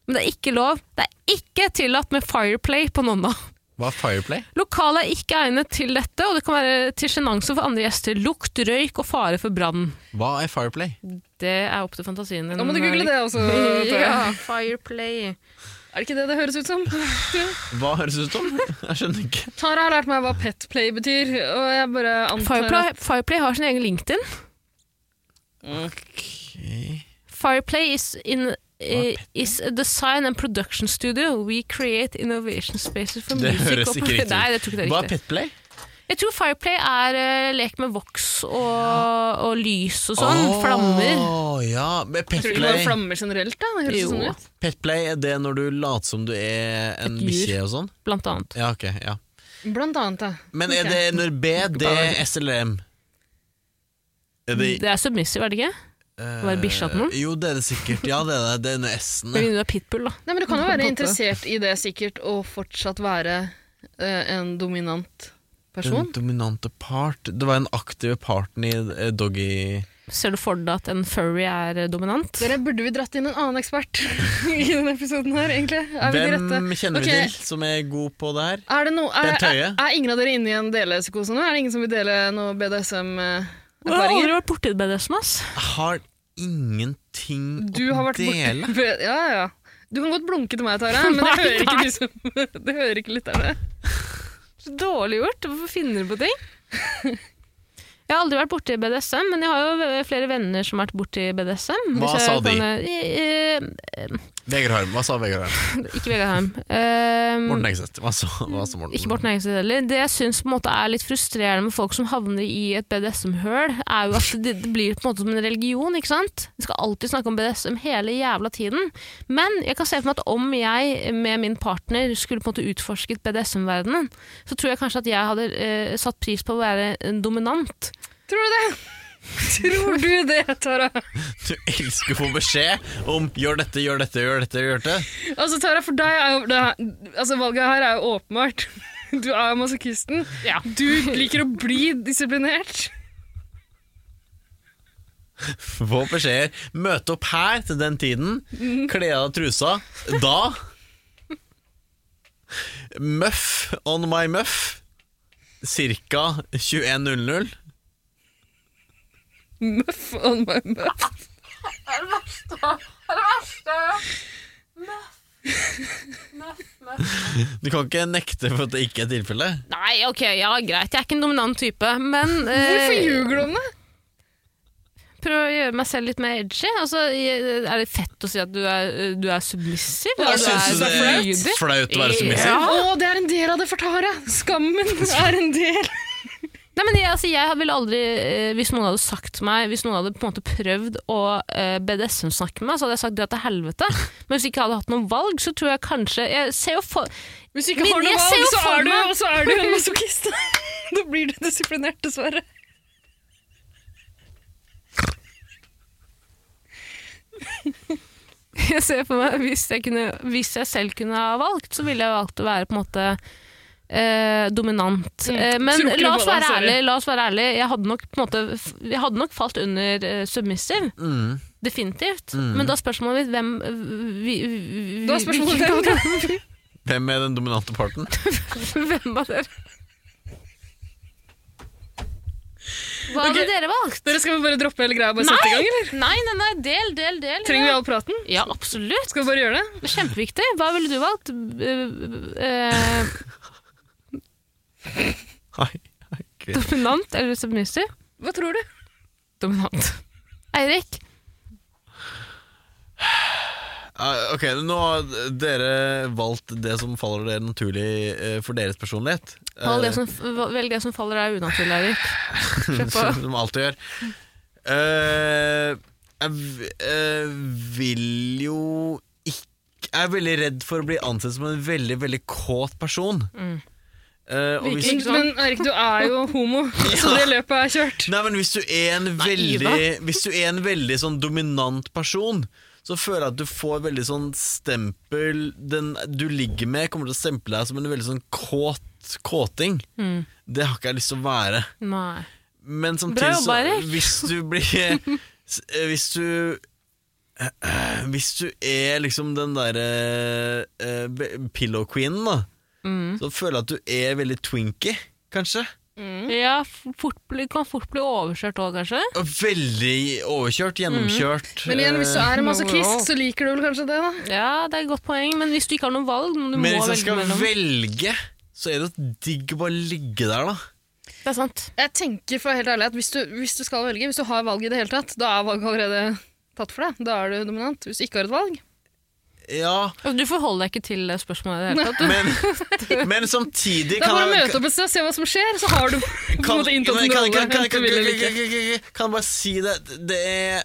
Speaker 3: men det er ikke lov. Det er ikke tillatt med fireplay på Nonna.
Speaker 2: Hva er Fireplay?
Speaker 3: Lokalet er ikke egnet til dette, og det kan være til sjenanse for andre gjester. Lukt, røyk og fare for brann.
Speaker 2: Hva er Fireplay?
Speaker 3: Det er opp til fantasien din.
Speaker 4: Da må du google det også. Tore.
Speaker 3: Ja, fireplay.
Speaker 4: Er det ikke det det høres ut som?
Speaker 2: Hva høres det ut som? Jeg skjønner ikke.
Speaker 4: Tara har lært meg hva pet play betyr, og jeg bare antar
Speaker 3: Fireplay, Fireplay har sin egen LinkedIn. Fireplay is, in, i- is a design and production studio. We create innovation spaces for
Speaker 2: Det
Speaker 3: music
Speaker 2: høres
Speaker 3: og-
Speaker 2: ikke riktig ut.
Speaker 3: Nei, jeg tror ikke det er
Speaker 2: Hva er
Speaker 3: riktig.
Speaker 2: Petplay?
Speaker 3: Jeg tror Fireplay er eh, lek med voks og, og lys og sånn.
Speaker 2: Åh,
Speaker 3: Flammer.
Speaker 2: Ja, men
Speaker 4: Jeg tror ikke det
Speaker 2: Petplay,
Speaker 4: var flammer generelt, da. Det høres
Speaker 3: Jo.
Speaker 4: sånn ut.
Speaker 2: petplay er det når du later som du er en
Speaker 3: Et dyr.
Speaker 2: bikkje og sånn?
Speaker 3: Blant annet.
Speaker 2: Ja, ok, ja.
Speaker 4: Blant annet, da.
Speaker 2: Men er
Speaker 4: Ok.
Speaker 2: det under B, D, S eller M? Er det,
Speaker 3: Det er submissive, er det ikke?
Speaker 2: eh,
Speaker 3: var det bikkja til noen?
Speaker 2: Jo, det er det sikkert. Ja, det er det. Det er under S-en.
Speaker 3: Med mindre du er pitbull, da.
Speaker 4: Nei, men Du kan jo
Speaker 3: På en
Speaker 4: være
Speaker 3: måte.
Speaker 4: interessert i det sikkert, og fortsatt være eh, en dominant person.
Speaker 2: Den dominante part. Det var den aktive parten i eh, Doggy
Speaker 3: Ser du for deg at en furry er eh, dominant?
Speaker 4: Dere burde vi dratt inn en annen ekspert i denne episoden her, egentlig. Er vi de
Speaker 2: Hvem
Speaker 4: rette?
Speaker 2: kjenner
Speaker 4: Ok.
Speaker 2: vi til som er god på det her?
Speaker 4: Er, det no, er,
Speaker 2: Det er
Speaker 4: er,
Speaker 2: tøye.
Speaker 4: er ingen av dere inne i en delepsykose nå? Er det ingen som vil dele noe
Speaker 3: Jeg har
Speaker 4: BDSM-erfaringer?
Speaker 3: aldri vært borti BDSM, ass.
Speaker 2: Jeg har ingenting
Speaker 4: Du har
Speaker 2: å
Speaker 4: vært
Speaker 2: dele.
Speaker 4: borte Ja, ja, ja. Du kan godt blunke til meg, Tara, men det
Speaker 3: Nei,
Speaker 4: hører ikke
Speaker 3: nei.
Speaker 4: de som Det hører ikke lytterne.
Speaker 3: Så dårlig gjort. Hvorfor finner du på ting? Jeg har aldri vært borti BDSM, men jeg har jo eh, flere venner som har vært borti BDSM.
Speaker 2: Hva
Speaker 3: Hvis jeg sånn,
Speaker 2: sa de?
Speaker 3: kan, eh, eh,
Speaker 2: Vegard Harm, hva sa Vegard Harm?
Speaker 3: ikke Vegard Heim. Eh,
Speaker 2: Morten Hegseth. Hva, sa- hva sa Morten?
Speaker 3: ikke Morten Engstedt heller. Det jeg syns på en måte er litt frustrerende med folk som havner i et BDSM-høl, er jo at det, det blir på en måte som en religion, ikke sant? Vi skal alltid snakke om BDSM hele jævla tiden. Men jeg kan se for meg at om jeg med min partner skulle på en måte utforsket BDSM-verdenen, så tror jeg kanskje at jeg hadde eh, satt pris på å være en dominant.
Speaker 4: Tror du det? Tror du det, Tara?
Speaker 2: Du elsker å få beskjed om 'gjør dette, gjør dette, gjør dette'. gjør dette
Speaker 4: Altså, Tara, for deg er jo det, altså, Valget her er jo åpenbart. Du er masochisten.
Speaker 3: Ja.
Speaker 4: Du liker å bli disiplinert.
Speaker 2: Få beskjeder. Møte opp her til den tiden.
Speaker 3: Mm.
Speaker 2: Kle av deg trusa. Da. Muff on my muff. Cirka 21.00.
Speaker 4: Muff on my muff.
Speaker 2: Du kan ikke nekte for at det ikke er tilfelle.
Speaker 3: Nei, ok, ja, greit. Jeg er ikke en dominant type, men
Speaker 4: Hvorfor
Speaker 3: eh,
Speaker 4: ljuger du om det?
Speaker 3: prøv å gjøre meg selv litt mer edgy. Altså, jeg- er det fett å si at du er, du er submissiv?
Speaker 4: Hva
Speaker 3: Eller du
Speaker 2: Syns du
Speaker 3: er
Speaker 2: det er
Speaker 3: lydig?
Speaker 2: flaut å være så mye
Speaker 3: Ja.
Speaker 4: Å, det er en del av det for Tara! Skammen er en del.
Speaker 3: Nei, men jeg, altså, jeg ville aldri, eh, hvis noen hadde sagt til meg, hvis noen hadde på en måte prøvd å eh, BDSM-snakke med meg, så hadde jeg sagt det til helvete. Men hvis jeg ikke hadde hatt noe valg, så tror jeg kanskje Jeg ser jo for
Speaker 4: Hvis du ikke
Speaker 3: Men
Speaker 4: har noe
Speaker 3: jeg ser
Speaker 4: valg,
Speaker 3: jo
Speaker 4: så
Speaker 3: for
Speaker 4: er du,
Speaker 3: meg-
Speaker 4: og så er du en masochist. Da blir du disiplinert, dessverre.
Speaker 3: jeg ser for meg, hvis jeg, kunne, hvis jeg selv kunne ha valgt, så ville jeg valgt å være på en måte eh, dominant.
Speaker 4: Mm.
Speaker 3: Eh, men
Speaker 4: Tror ikke du
Speaker 3: la
Speaker 4: på
Speaker 3: oss,
Speaker 4: det,
Speaker 3: være
Speaker 4: sorry.
Speaker 3: ærlig, la oss være ærlig, jeg hadde nok, på en måte, f- jeg hadde nok falt under eh, submissive.
Speaker 2: Mm.
Speaker 3: Definitivt. Men da er spørsmålet mitt hvem vi, vi, vi,
Speaker 4: Da er spørsmålet
Speaker 3: hvilken-
Speaker 4: hvem.
Speaker 2: Hvem er den dominante parten?
Speaker 3: Hvem av dere? Hva hadde
Speaker 4: Ok.
Speaker 3: dere valgt?
Speaker 4: Dere skal vi bare droppe hele greia og bare sette i gang, eller?
Speaker 3: Nei, nei, nei, del, del, del.
Speaker 4: Trenger vi all praten?
Speaker 3: Ja, absolutt.
Speaker 4: Skal vi bare gjøre det?
Speaker 3: Kjempeviktig. Hva ville du valgt? Eh, eh,
Speaker 2: Hei, hei, greit.
Speaker 3: dominant eller submissive?
Speaker 4: Hva tror du?
Speaker 3: Dominant. Eirik?
Speaker 2: Ah, Ok, Nå har dere valgt det som faller dere naturlig eh, for deres personlighet. Eh,
Speaker 3: Valg det som, velg det som faller deg unaturlig, Eirik. Slipp å-
Speaker 2: Som de alltid gjør. Eh, jeg v- eh, vil jo ikke Jeg er veldig redd for å bli ansett som en veldig, veldig kåt person.
Speaker 3: Mm.
Speaker 2: Eh, og hvis,
Speaker 3: Ikke sant?
Speaker 4: Men Erik, du er jo homo, så det løpet er kjørt.
Speaker 2: nei, men hvis du er en veldig Hvis du er en veldig sånn dominant person, så føler jeg at du får veldig sånn stempel Den du ligger med, kommer til å stemple deg som en veldig sånn kåt kåting.
Speaker 3: Mm.
Speaker 2: Det har ikke jeg lyst til å være.
Speaker 3: Nei.
Speaker 2: Men
Speaker 3: Bra
Speaker 2: samtidig
Speaker 3: jobba,
Speaker 2: så
Speaker 3: Erik.
Speaker 2: Hvis du blir s- eh, Hvis du Hvis du er liksom den derre eh, be- pillow queenen, da,
Speaker 3: Mm.
Speaker 2: så føler jeg at du er veldig twinky, kanskje.
Speaker 3: Ja, fort bli, kan fort bli overkjørt òg, kanskje.
Speaker 2: Og Veldig overkjørt, gjennomkjørt.
Speaker 4: Mm. Men igjen, hvis du er
Speaker 3: Overall.
Speaker 4: en masochist, så liker du vel kanskje det, da?
Speaker 3: Ja, det er et godt poeng, men hvis du ikke har noe valg du
Speaker 2: Eh, Men hvis
Speaker 3: må
Speaker 2: jeg
Speaker 3: velge
Speaker 2: skal
Speaker 3: mellom.
Speaker 2: velge, så er det digg å bare ligge der, da.
Speaker 3: Det er sant.
Speaker 4: Jeg tenker for helt ærlig at hvis du, hvis du skal velge, hvis du har valg i det hele tatt, da er valget allerede tatt for deg. Da er du dominant. Hvis du ikke har et valg
Speaker 2: Ja,
Speaker 3: Altså, du forholder deg ikke til det spørsmålet i det hele tatt.
Speaker 2: men, men samtidig
Speaker 4: Da
Speaker 2: kan
Speaker 4: bare å
Speaker 2: jeg-
Speaker 4: møte opp et sted og se hva som skjer, så har du på en
Speaker 2: kan,
Speaker 4: måte inntatt en
Speaker 2: kan-
Speaker 4: rolle.
Speaker 2: kan- kan-
Speaker 4: enten
Speaker 2: kan-
Speaker 4: du vil eller ikke.
Speaker 2: kan- kan- kan jeg bare si det Det er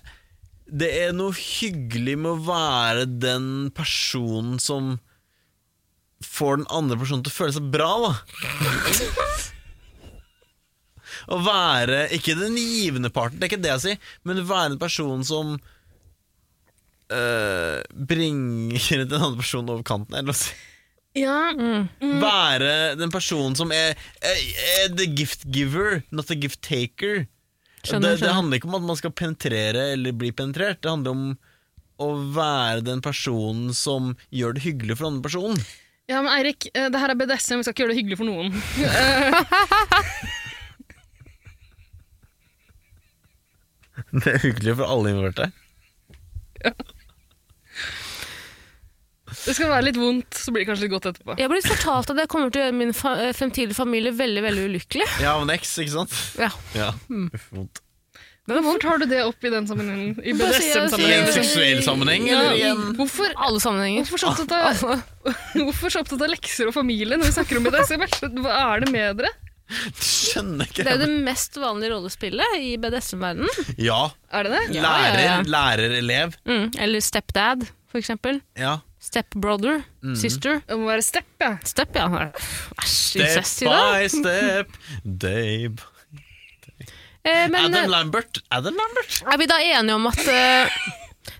Speaker 2: Det er noe hyggelig med å være den personen som får den andre personen til å føle seg bra, da. Å være Ikke den givende parten, det er ikke det jeg sier, men være en person som øh, bringer den andre personen over kanten. Eller å si
Speaker 4: Ja,
Speaker 2: være den personen som er, er, er the gift giver, not the gift taker.
Speaker 3: Skjønner,
Speaker 2: det, det
Speaker 3: skjønner.
Speaker 2: handler ikke om at man skal penetrere eller bli penetrert. Det handler om å være den personen som gjør det hyggelig for den andre personen.
Speaker 4: ja men Eirik, eh, det her er BDSM, vi skal ikke gjøre det hyggelig for noen.
Speaker 2: Det er hyggelig for alle involverte.
Speaker 4: Det skal være litt vondt, så blir det kanskje litt godt etterpå.
Speaker 3: Jeg har blitt fortalt at jeg kommer til å gjøre min fa eh, fremtidige familie veldig veldig ulykkelig.
Speaker 2: Ja, av en eks, ikke sant?
Speaker 3: Ja.
Speaker 2: Ja.
Speaker 3: Hmm.
Speaker 2: Uff, vondt.
Speaker 4: Hvorfor tar du det opp i den sammenhengen? I
Speaker 3: Bare si-
Speaker 2: I en
Speaker 3: sånn-
Speaker 4: BDSM-sammenhengen?
Speaker 2: seksuell sammenheng, eller i en
Speaker 4: Hvorfor,
Speaker 3: Alle sammenhenger.
Speaker 4: hvorfor, så opptatt av, hvorfor så opptatt av lekser og familie når vi snakker om BDSM? Hva er det med dere?
Speaker 2: Skjønner
Speaker 3: Det er
Speaker 2: ikke.
Speaker 3: jo det mest vanlige rollespillet i BDSM-verdenen.
Speaker 2: Ja.
Speaker 4: Er det det?
Speaker 3: Ja, ja, ja.
Speaker 2: Lærer, lærer, elev.
Speaker 3: Mm. Eller stepdad, for eksempel.
Speaker 2: Ja.
Speaker 3: Stepbrother. Sister.
Speaker 4: Det må være stepp, ja.
Speaker 3: Step, ja. Æsj,
Speaker 2: Step
Speaker 3: incest i dag.
Speaker 2: by step, Dave.
Speaker 3: Eh, men
Speaker 2: Adam
Speaker 3: eh,
Speaker 2: Lambert. Adam Lambert.
Speaker 3: er vi da enige om at eh,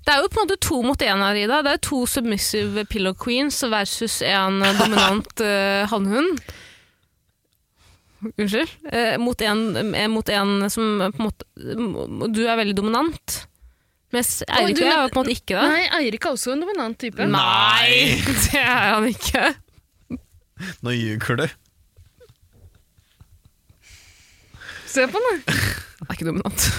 Speaker 3: det er jo på en måte to mot én her, Ida. Det er jo to submissive pillow queens versus en eh, dominant uh, hannhund. Unnskyld. Eh, mot, en, eh, mot en som eh, på en måte Du er veldig dominant, mens Eirik
Speaker 4: du
Speaker 3: og jeg er
Speaker 4: men-
Speaker 3: jo på en måte ikke det.
Speaker 4: Nei, Eirik er også en dominant type.
Speaker 2: Nei.
Speaker 3: det er han ikke.
Speaker 2: Nå ljuger du.
Speaker 4: Se på den, da.
Speaker 3: Han er ikke dominant.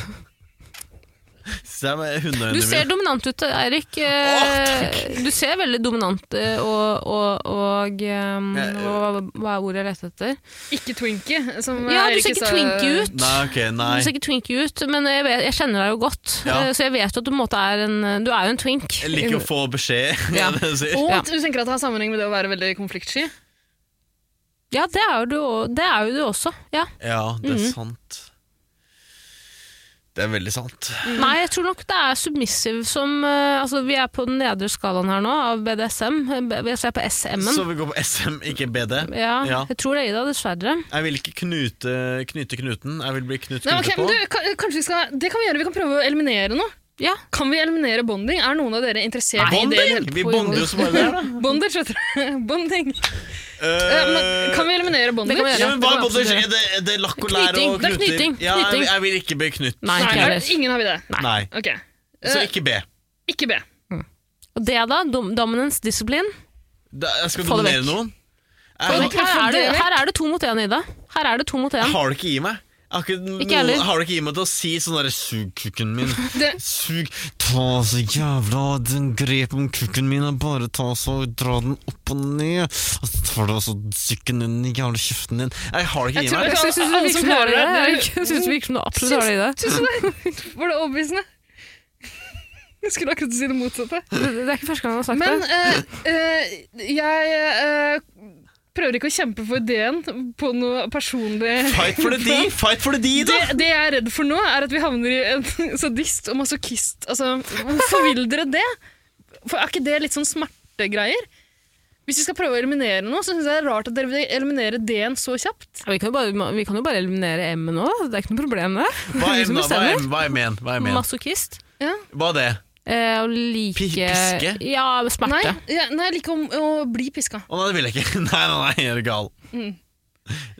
Speaker 2: Se med hundeøynene
Speaker 3: Du
Speaker 2: mine.
Speaker 3: ser dominant ut, Eirik. Eh, Du ser veldig dominant eh, og, og, og um, hva, hva er ordet jeg leter etter?
Speaker 4: Ikke twinky. Som
Speaker 3: Ja, du
Speaker 4: Eirik
Speaker 3: ser ikke
Speaker 4: sa-
Speaker 3: twinky ut.
Speaker 2: Nei, ok,
Speaker 3: Du ser
Speaker 2: nei.
Speaker 3: ikke twinky ut, men jeg, vet, jeg kjenner deg jo godt,
Speaker 2: Ja.
Speaker 3: eh, så jeg vet jo at du på en måte er en Du er jo en twink.
Speaker 2: Jeg liker å få beskjed.
Speaker 3: Ja.
Speaker 2: er det du sier.
Speaker 4: Og
Speaker 3: Ja.
Speaker 4: du tenker at det har sammenheng med det å være veldig konfliktsky?
Speaker 3: Ja, det er jo du, o- det er jo du også. Ja.
Speaker 2: Ja, det
Speaker 3: Mhm.
Speaker 2: er sant. Det er veldig sant.
Speaker 3: Nei, jeg tror nok det er submissive som eh, Altså, vi er på den nedre skalaen her nå, av BDSM. eh, B- Så jeg er på SM-en.
Speaker 2: Så vi går på SM, ikke BD.
Speaker 3: Ja,
Speaker 2: Ja.
Speaker 3: jeg tror det, Ida, dessverre.
Speaker 2: Jeg vil ikke knute, knyte knuten. Jeg vil bli knut
Speaker 4: Nei,
Speaker 2: knute
Speaker 4: ok,
Speaker 2: på.
Speaker 4: men du, kan, kanskje vi skal, det kan vi gjøre. Vi kan prøve å eliminere noe.
Speaker 3: Ja.
Speaker 4: Kan vi eliminere bonding? Er noen av dere interessert i det?
Speaker 2: Bonding! Vi bonder jo så bare der, da.
Speaker 4: Bondage, vet dere. Bonding. Eh, men,
Speaker 2: Eh,
Speaker 4: kan vi eliminere bondage?
Speaker 3: Det kan vi gjøre.
Speaker 2: ja, men hva er
Speaker 3: Det kan vi
Speaker 2: bondage?
Speaker 3: absolutt
Speaker 2: Er det, er det lakk og lær
Speaker 3: Knyting,
Speaker 2: og
Speaker 3: det er
Speaker 2: knuter?
Speaker 3: knyting,
Speaker 2: Ja, jeg,
Speaker 3: knyting.
Speaker 2: jeg vil ikke bli knytt.
Speaker 3: Nei,
Speaker 4: Nei,
Speaker 3: ikke
Speaker 4: er,
Speaker 3: heller.
Speaker 4: ingen har vi det.
Speaker 2: Nei.
Speaker 4: Ok.
Speaker 2: Så
Speaker 4: Eh,
Speaker 2: ikke B.
Speaker 4: ikke B.
Speaker 3: Og det, da? Dom dominance discipline?
Speaker 2: Da, jeg skal
Speaker 3: Få det
Speaker 2: dominere
Speaker 3: vekk.
Speaker 2: noen.
Speaker 4: Få
Speaker 2: Jeg,
Speaker 4: det vekk.
Speaker 3: Her er det,
Speaker 4: det vekk.
Speaker 3: her er det to mot én, Ida. Her er det to mot
Speaker 2: jeg
Speaker 3: én.
Speaker 2: har det ikke i meg. Jeg har ikke,
Speaker 3: Ikke
Speaker 2: noen,
Speaker 3: heller.
Speaker 2: har det ikke i meg til å si sånn derre Sug kukken min.
Speaker 4: Det,
Speaker 2: Sug Ta så jævla Den grep om kukken min Og bare ta så Dra den opp og ned Og så tar du altså Sykken den jævla kjeften din Jeg har det
Speaker 4: Jeg
Speaker 2: ikke i
Speaker 4: tror-
Speaker 2: meg
Speaker 3: Jeg syns det
Speaker 4: Alle
Speaker 3: virker
Speaker 4: som
Speaker 3: som du har
Speaker 4: klarer
Speaker 3: det.
Speaker 4: det,
Speaker 3: Erik. Jeg synes det virker som du absolutt har det i det.
Speaker 4: Syns du det? Var det overbevisende? Jeg skulle akkurat si det motsatte.
Speaker 3: Det er ikke første gang han har sagt
Speaker 4: Men
Speaker 3: det.
Speaker 4: eh, eh, jeg eh, prøver ikke å kjempe for ideen på noe personlig
Speaker 2: Fight for the D Fight for the D da
Speaker 4: Det, det jeg er redd for nå, er at vi havner i en sadist og masochist. Altså, hvorfor vil dere det? For Er ikke det litt sånn smertegreier? Hvis vi skal prøve å eliminere noe, så syns jeg det er rart at dere vil eliminere D-en så kjapt.
Speaker 3: Ja, Vi kan, jo bare, vi kan jo bare eliminere M nå, det er ikke noe problem det.
Speaker 2: Hva
Speaker 3: Du
Speaker 2: er men da? Hva er
Speaker 3: som bestemmer.
Speaker 2: hva er men? Hva er men?
Speaker 3: Masochist.
Speaker 2: Hva er det?
Speaker 3: Eh, og like
Speaker 2: Pi- piske?
Speaker 3: Ja,
Speaker 4: Nei,
Speaker 3: smerte.
Speaker 4: ja, nei, jeg liker om å bli piska.
Speaker 2: Å nei, det vil jeg ikke Nei, nei, nei Jeg er gal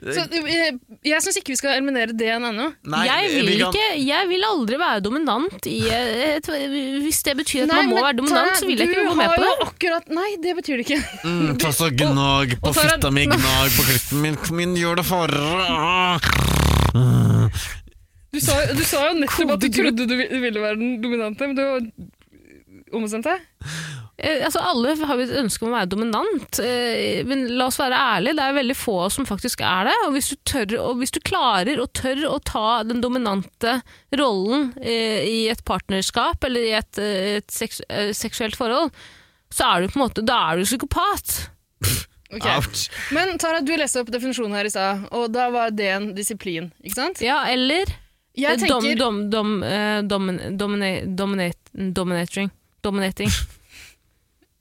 Speaker 4: Så eh, jeg syns ikke vi skal eliminere det ennå.
Speaker 2: Nei,
Speaker 3: jeg, vil
Speaker 2: vi kan-
Speaker 3: ikke, jeg vil aldri være dominant i eh, et, Hvis det betyr at man må
Speaker 4: men
Speaker 3: være dominant,
Speaker 4: Tara,
Speaker 3: så vil jeg ikke
Speaker 4: du
Speaker 3: gå med
Speaker 4: har
Speaker 3: på det.
Speaker 4: jo Akkurat, nei, det betyr det ikke.
Speaker 2: Mm, ta så gnag på
Speaker 4: og Tara-
Speaker 2: fitta mi, gnag på klitten min, kom inn, gjør det for
Speaker 4: Du sa, du sa jo nettopp at du
Speaker 3: Kodegrå.
Speaker 4: trodde du vi- du ville være den dominante, men du har ombestemt deg.
Speaker 3: Eh, Altså, alle har jo et ønske om å være dominant, eh, men la oss være ærlige, det er veldig få som faktisk er det. Og hvis du, tør, og hvis du klarer og tør å ta den dominante rollen eh, i et partnerskap eller i et, eh, et seks, eh, seksuelt forhold, så er du på en måte Da er du psykopat.
Speaker 4: Ok.
Speaker 2: Ouch.
Speaker 4: Men Tara, du leste opp definisjonen her i stad, og da var det en disiplin, ikke sant?
Speaker 3: Ja, eller
Speaker 4: Jeg
Speaker 3: eh, dom,
Speaker 4: tenker
Speaker 3: dom, dom, eh, domin, domina, dominate, dominating. Dominating.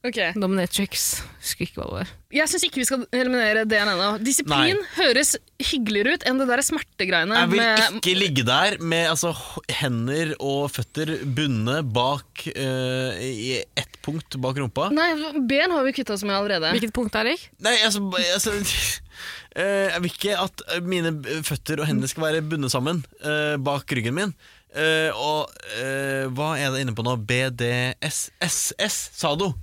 Speaker 4: Ok,
Speaker 3: Dominatrix. Husker ikke hva det var.
Speaker 4: Jeg syns ikke vi skal eliminere det ennå. Disiplin høres hyggeligere ut enn det der smertegreiene.
Speaker 2: Jeg vil
Speaker 4: med-
Speaker 2: ikke ligge der med altså, h- hender og føtter bundet bak eh, i ett punkt bak rumpa.
Speaker 4: Nei, ben har vi kvitta oss med allerede.
Speaker 3: Hvilket punkt, Erik?
Speaker 2: Nei, altså, b- altså eh, Jeg vil ikke at mine b- føtter og hender skal være bundet sammen eh, bak ryggen min. Eh, og eh, hva er det inne på nå? BDSSS? Sado?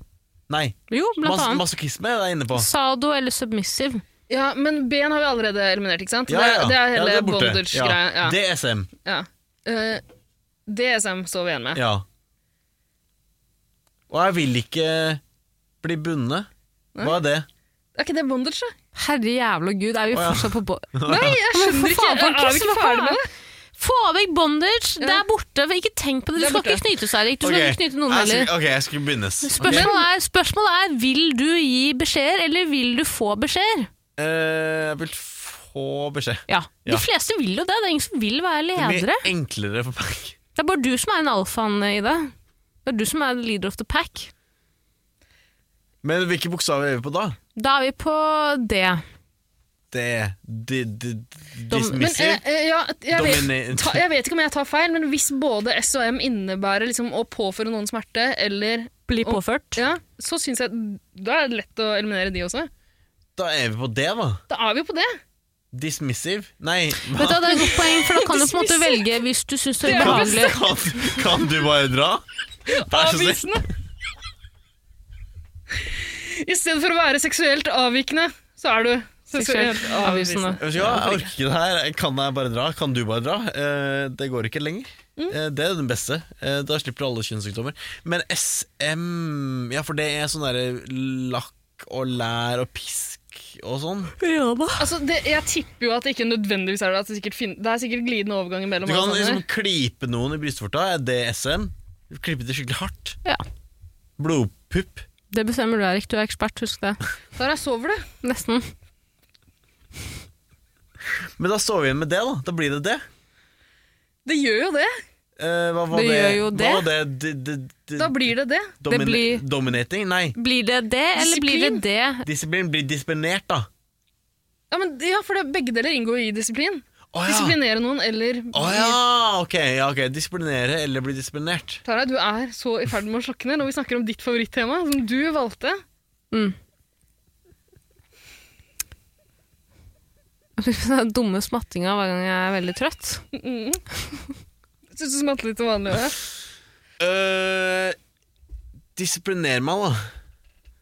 Speaker 2: Nei.
Speaker 3: Jo, blant
Speaker 2: Mas
Speaker 3: annet.
Speaker 2: masochisme er det jeg er inne på.
Speaker 3: Sado eller submissive.
Speaker 4: Ja, Men ben har vi allerede eliminert, ikke sant?
Speaker 2: Ja, ja, ja.
Speaker 4: Det, det er
Speaker 2: Ja,
Speaker 4: hele
Speaker 2: det er borte.
Speaker 4: bondage-greia.
Speaker 2: Ja.
Speaker 4: Ja.
Speaker 2: DSM.
Speaker 4: Ja. Eh, DSM står vi igjen med.
Speaker 2: Ja. Og jeg vil ikke bli bundet. Hva er det?
Speaker 4: Er ikke det bondage, da?
Speaker 3: Herre jævla gud, er vi
Speaker 2: ja.
Speaker 3: fortsatt på bo
Speaker 4: Nei, jeg skjønner
Speaker 3: for
Speaker 4: ikke.
Speaker 3: faen,
Speaker 4: Er vi ikke
Speaker 3: hva
Speaker 4: ferdig med
Speaker 3: faen?
Speaker 4: det?
Speaker 3: Få vekk bondage! Det er borte. Ikke tenk på det.
Speaker 4: Det
Speaker 3: Du
Speaker 4: er
Speaker 3: skal
Speaker 4: borte.
Speaker 3: ikke knytes, Erik. Du skal
Speaker 2: Ok,
Speaker 3: ikke knyte noen
Speaker 2: jeg
Speaker 3: heller.
Speaker 2: skal, ok, jeg skal begynnes.
Speaker 3: Spørsmålet er, spørsmålet er vil du gi beskjeder, eller vil du få beskjeder?
Speaker 2: Eh, jeg vil få beskjed.
Speaker 3: Ja.
Speaker 2: Ja.
Speaker 3: De fleste vil jo det. Det er ingen som vil være
Speaker 2: Det blir
Speaker 3: ledere.
Speaker 2: enklere for meg.
Speaker 3: Det er bare du som er en alfaen i det. Det er du som er the leader of the pack.
Speaker 2: Men hvilke bokstaver er vi på da?
Speaker 3: Da er vi på det.
Speaker 2: Det de, de,
Speaker 3: Dom-
Speaker 4: Men,
Speaker 2: Dismissive?
Speaker 4: eh, eh, ja, jeg,
Speaker 2: Domini-
Speaker 4: vet, ta, jeg vet ikke om jeg tar feil, men hvis både S og M innebærer liksom, å påføre noen smerte, eller
Speaker 3: Bli
Speaker 4: Og-
Speaker 3: påført.
Speaker 4: ja, så syns jeg Da er det lett å eliminere de også.
Speaker 2: Da er vi på det, da.
Speaker 4: Da er vi jo på det.
Speaker 2: Dismissive? Nei,
Speaker 3: Vet du, hva, Det er et godt poeng, for da kan du på en måte
Speaker 4: Dismissive.
Speaker 3: velge hvis du syns det
Speaker 4: Det
Speaker 3: er
Speaker 4: er det
Speaker 3: ubehagelig.
Speaker 2: Kan, kan du bare dra? Vær så snill.
Speaker 4: Avvisende. I stedet for å være seksuelt avvikende, så er du seksuelt
Speaker 3: Seksuelt avvisende.
Speaker 4: avvisende.
Speaker 2: Vet du hva, Jeg orker ikke det her. Kan jeg bare dra? Kan du bare dra? Eh, det går ikke lenger. Eh, det er den beste. Eh, da slipper du alle kjønnssykdommer. Men SM Ja, for det er sånn derre lakk og lær og pisk og sånn.
Speaker 3: Ja da.
Speaker 4: Altså, det, jeg tipper jo at det ikke nødvendigvis er det. At det, sikkert fin det er sikkert glidende overganger
Speaker 2: Du
Speaker 4: mellom
Speaker 2: kan
Speaker 4: alle sammen.
Speaker 2: liksom klype noen i brystvorta. Er det SM? Klype det skikkelig hardt.
Speaker 3: Ja.
Speaker 2: Blodpupp.
Speaker 3: Det bestemmer du, Erik. Du er ekspert, husk det.
Speaker 4: Tara, sover du?
Speaker 3: Nesten.
Speaker 2: Men da står vi igjen med det, da. Da blir det det.
Speaker 4: Det gjør jo det.
Speaker 2: Eh, hva var
Speaker 3: Det
Speaker 2: det?
Speaker 3: gjør jo det.
Speaker 2: Hva var det? D- d- d-
Speaker 4: Da blir det det.
Speaker 2: domin-
Speaker 3: det blir-
Speaker 2: Dominating? Nei.
Speaker 3: Blir det det, eller blir det
Speaker 4: Disiplin.
Speaker 3: det?
Speaker 2: Disiplin blir disiplinert, da.
Speaker 4: Ja, men, ja for det, begge deler inngår i disiplin.
Speaker 2: Å ja.
Speaker 4: Disiplinere noen eller
Speaker 2: Å ja. Ok, ja, ok. Disiplinere eller bli disiplinert.
Speaker 4: Tara, du er så i ferd med å slokne når vi snakker om ditt favorittema, som du valgte.
Speaker 3: Den dumme smattinga hver gang jeg er veldig trøtt.
Speaker 4: Mm. Syns du smatte litt som vanlig? ja?
Speaker 2: Eh, disipliner meg, da.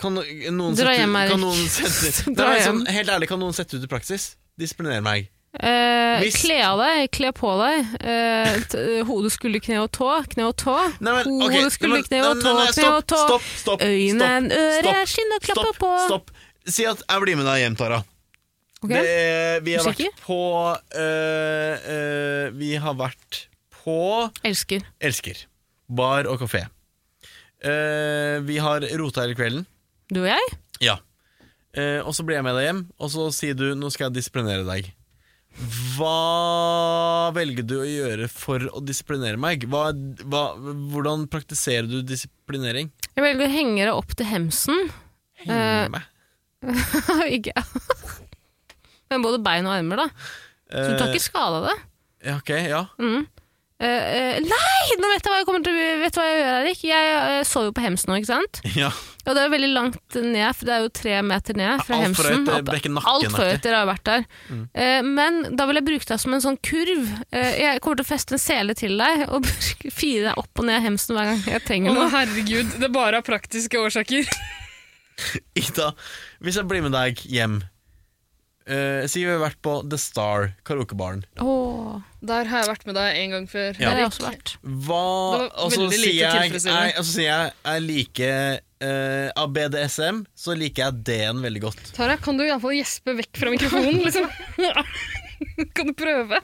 Speaker 2: Kan no- noen sette,
Speaker 3: Dra hjem, Erik.
Speaker 2: Kan noen sette,
Speaker 3: Dra
Speaker 2: Nei,
Speaker 3: hjem.
Speaker 2: sånn, helt ærlig, kan noen sette ut i praksis? Disiplinere meg.
Speaker 3: Eh,
Speaker 2: Hvis-
Speaker 3: Kle av deg, kle på deg. Eh, t hode, skulder, kne og tå. Kne og tå.
Speaker 2: Nei, men, ok,
Speaker 3: Hode,
Speaker 2: nei,
Speaker 3: skulder,
Speaker 2: men-
Speaker 3: kne og
Speaker 2: nei,
Speaker 3: tå.
Speaker 2: nei, nei,
Speaker 3: Kne og
Speaker 2: Stopp,
Speaker 3: tå.
Speaker 2: stopp, stopp.
Speaker 3: Øyne,
Speaker 2: stopp,
Speaker 3: øre,
Speaker 2: stopp,
Speaker 3: skinn og klapper
Speaker 2: stopp,
Speaker 3: på.
Speaker 2: Stopp. Si at jeg blir med deg hjem, Tara.
Speaker 3: Ok?
Speaker 2: Det, er- vi har
Speaker 3: Usikker?
Speaker 2: vært på øh, øh, Vi har vært på
Speaker 3: Elsker.
Speaker 2: Elsker. Bar og kafé. Eh, vi har rota hele kvelden.
Speaker 3: Du og jeg?
Speaker 2: Ja. Eh, og så blir jeg med deg hjem, og så sier du 'nå skal jeg disiplinere deg'. Hva velger du å gjøre for å disiplinere meg? Hva, hva, hvordan praktiserer du disiplinering?
Speaker 3: Jeg velger å henge deg opp til hemsen.
Speaker 2: Henge
Speaker 3: Eh,
Speaker 2: meg.
Speaker 3: ikke Men både bein og armer, da. Så du tar
Speaker 2: Eh,
Speaker 3: ikke skade av det?
Speaker 2: ja, ok, ja.
Speaker 3: Mm. Eh, eh, nei, nå vet jeg hva jeg kommer til å vet du hva jeg gjør, Erik? Jeg eh, sover jo på Hemsen nå, ikke sant?
Speaker 2: Ja,
Speaker 3: Og det er jo veldig langt ned, for det er jo tre meter ned fra
Speaker 2: Alt for
Speaker 3: Hemsen.
Speaker 2: høyt,
Speaker 3: Alt-
Speaker 2: brekker nakken, Mm.
Speaker 3: Alt for
Speaker 2: aktig.
Speaker 3: høyt, dere har jo vært der. Eh, men da vil jeg bruke deg som en sånn kurv. Eh, jeg kommer til å feste en sele til deg og fire deg opp og ned Hemsen hver gang jeg trenger
Speaker 4: Å,
Speaker 3: noe.
Speaker 4: herregud, det er bare av praktiske årsaker.
Speaker 2: Ida, hvis jeg blir med deg hjem eh, Si vi har vært på The Star karaokebaren.
Speaker 3: Åh,
Speaker 4: Der har jeg vært med deg en gang før.
Speaker 3: der har jeg
Speaker 4: Erik.
Speaker 3: også vært.
Speaker 2: Hva
Speaker 4: Det var
Speaker 2: Og så
Speaker 4: veldig
Speaker 2: sier
Speaker 4: lite
Speaker 2: jeg
Speaker 4: tilfredsstillende.
Speaker 2: jeg- og så sier jeg jeg liker eh, Av BDSM så liker jeg D-en veldig godt.
Speaker 4: Tara, kan du iallfall gjespe vekk fra mikrofonen? Liksom? kan du prøve?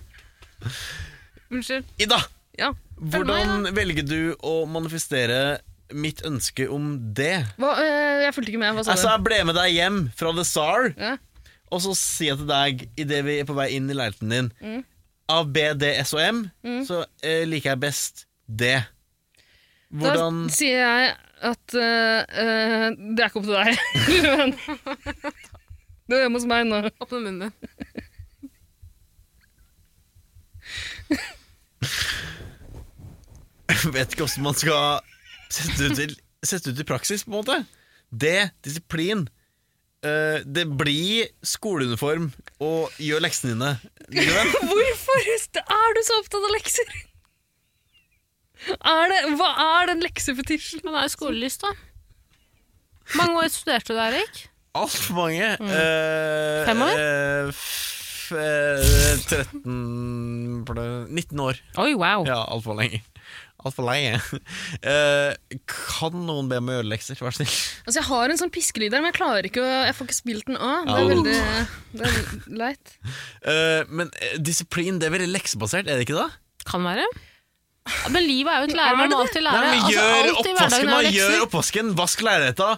Speaker 4: Unnskyld.
Speaker 2: Ida!
Speaker 4: Ja.
Speaker 2: Hvordan velger du å manifestere mitt ønske om det?
Speaker 4: Hva, eh, jeg fulgte ikke med. Hva sa
Speaker 2: Altså, jeg ble med deg hjem fra The Star,
Speaker 4: du? Ja.
Speaker 2: og så sier jeg til deg idet vi er på vei inn i leiligheten din
Speaker 4: Mm.
Speaker 2: Av B, D, S og M, så eh, liker jeg best det. Hvordan
Speaker 4: Da sier jeg at eh, eh, det er ikke opp til deg. Men du er hjemme hos meg nå.
Speaker 3: Åpne munnen din.
Speaker 2: Vet ikke hvordan man skal sette det ut, til, sette det ut i praksis, på en måte. Det, disiplin. Eh, det blir skoleuniform og gjør leksene dine. lille venn.
Speaker 4: Hvorfor er du så opptatt av lekser? Er det, hva er den leksefetisjen?
Speaker 3: Han har jo skolelyst, da. Mange år studerte du, Erik.
Speaker 2: Altfor mange. Eh,
Speaker 3: Mm. Fem år?
Speaker 2: eh, f- eh, 13 ble- 19 år.
Speaker 3: Oi, wow.
Speaker 2: Ja, altfor lenge. Altfor lenge. Eh, kan noen be meg gjøre lekser, vær så snill?
Speaker 4: Altså, jeg har en sånn piskelyd der, men jeg klarer ikke å, jeg får ikke spilt den av. Det
Speaker 2: Au.
Speaker 4: er veldig det er leit.
Speaker 2: Eh, men eh, disiplin, det er veldig leksebasert, er det ikke det?
Speaker 3: Kan være. Ja, Men livet er jo et lærer
Speaker 4: Er
Speaker 3: man
Speaker 4: det
Speaker 3: må
Speaker 4: det?
Speaker 3: alltid lære.
Speaker 2: Nei, men
Speaker 3: Altså,
Speaker 2: gjør
Speaker 3: alt i
Speaker 2: oppvasken,
Speaker 3: hverdagen
Speaker 2: da!
Speaker 3: er jo lekser.
Speaker 2: Gjør oppvasken, vask leiligheta,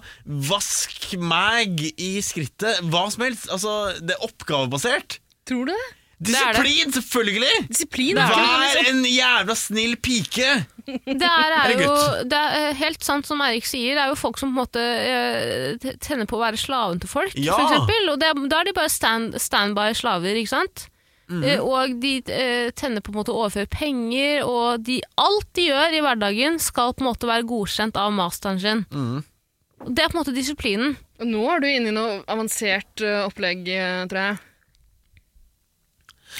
Speaker 2: vask meg i skrittet, hva som helst. Altså, det er oppgavebasert.
Speaker 4: Tror du det?
Speaker 3: er det.
Speaker 2: Disiplin, selvfølgelig!
Speaker 4: Disiplin er ikke noe
Speaker 3: Altså-
Speaker 4: liksom-
Speaker 2: Vær en jævla snill pike!
Speaker 3: Det er, er
Speaker 2: Eller
Speaker 3: jo
Speaker 2: gutt.
Speaker 3: det er eh, helt sant som Erik sier, det er jo folk som på en måte eh, t- tenner på å være slaven til folk,
Speaker 2: Ja.
Speaker 3: for eksempel. Og det, er- da er de bare stand, standby slaver, ikke sant?
Speaker 2: Mhm.
Speaker 3: Eh, Og de eh, tenner på en måte å overføre penger, og de, alt de gjør i hverdagen skal på en måte være godkjent av masteren sin.
Speaker 2: Mhm.
Speaker 3: Og Det er på en måte disiplinen.
Speaker 4: sånn. Nå er du inne i noe avansert eh, opplegg, eh, tror jeg.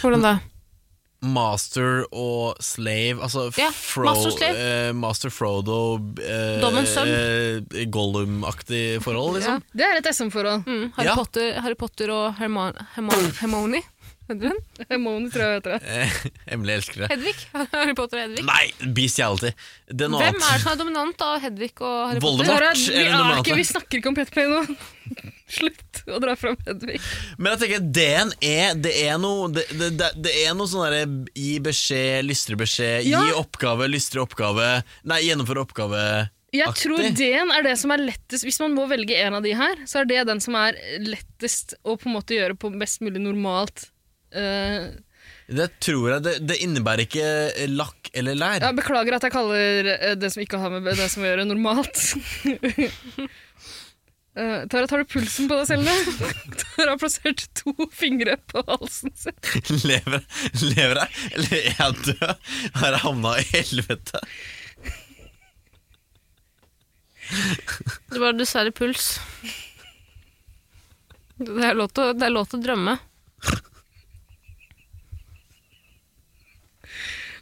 Speaker 3: Hvordan da?
Speaker 2: Master og slave, altså
Speaker 3: Ja,
Speaker 2: Fro-
Speaker 3: master og slave.
Speaker 2: eh, master Frodo eh,
Speaker 3: Dommens sønn.
Speaker 2: eh, Gollum-aktig forhold, liksom.
Speaker 4: Det er et SM-forhold.
Speaker 3: Mm, Harry,
Speaker 2: Ja.
Speaker 3: Potter, Harry Potter og Herman, Herman, Hermione. Hedvig?
Speaker 4: Moni, tror jeg heter det.
Speaker 2: Eh, Emily elsker det.
Speaker 3: Hedvig? Harry Potter og Hedvig.
Speaker 2: Nei, bestiality. Det er noe
Speaker 3: Hvem er det
Speaker 2: annet.
Speaker 3: som er dominant av Hedvig og Harry
Speaker 2: Voldemort.
Speaker 3: Potter?
Speaker 4: Tara,
Speaker 2: Bart,
Speaker 4: vi,
Speaker 2: eller noe
Speaker 4: er
Speaker 2: annet.
Speaker 4: ikke, vi snakker ikke om petplay nå. Slutt å dra fram Hedvig.
Speaker 2: Men jeg tenker, D-en er E, Det er noe Det, det, det, det er noe sånn derre gi beskjed, lystre beskjed,
Speaker 4: Ja.
Speaker 2: gi oppgave, lystre oppgave Nei, gjennomføre oppgave.
Speaker 4: Jeg
Speaker 2: Aktig.
Speaker 4: tror D-en er det som er lettest Hvis man må velge en av de her, så er det den som er lettest å på en måte gjøre på best mulig normalt. Eh,
Speaker 2: Det tror jeg Det, det innebærer ikke lakk eller lær.
Speaker 4: ja, beklager at jeg kaller eh, det som ikke har med det som å gjøre, normalt. Eh, Tara, tar du pulsen på deg selv nå? Tara har plassert to fingre på halsen sin.
Speaker 2: Lever, lever jeg? Eller er jeg død? Har jeg havna i helvete?
Speaker 3: Det var dessverre puls. Det er lov til, å- det er lov til å drømme.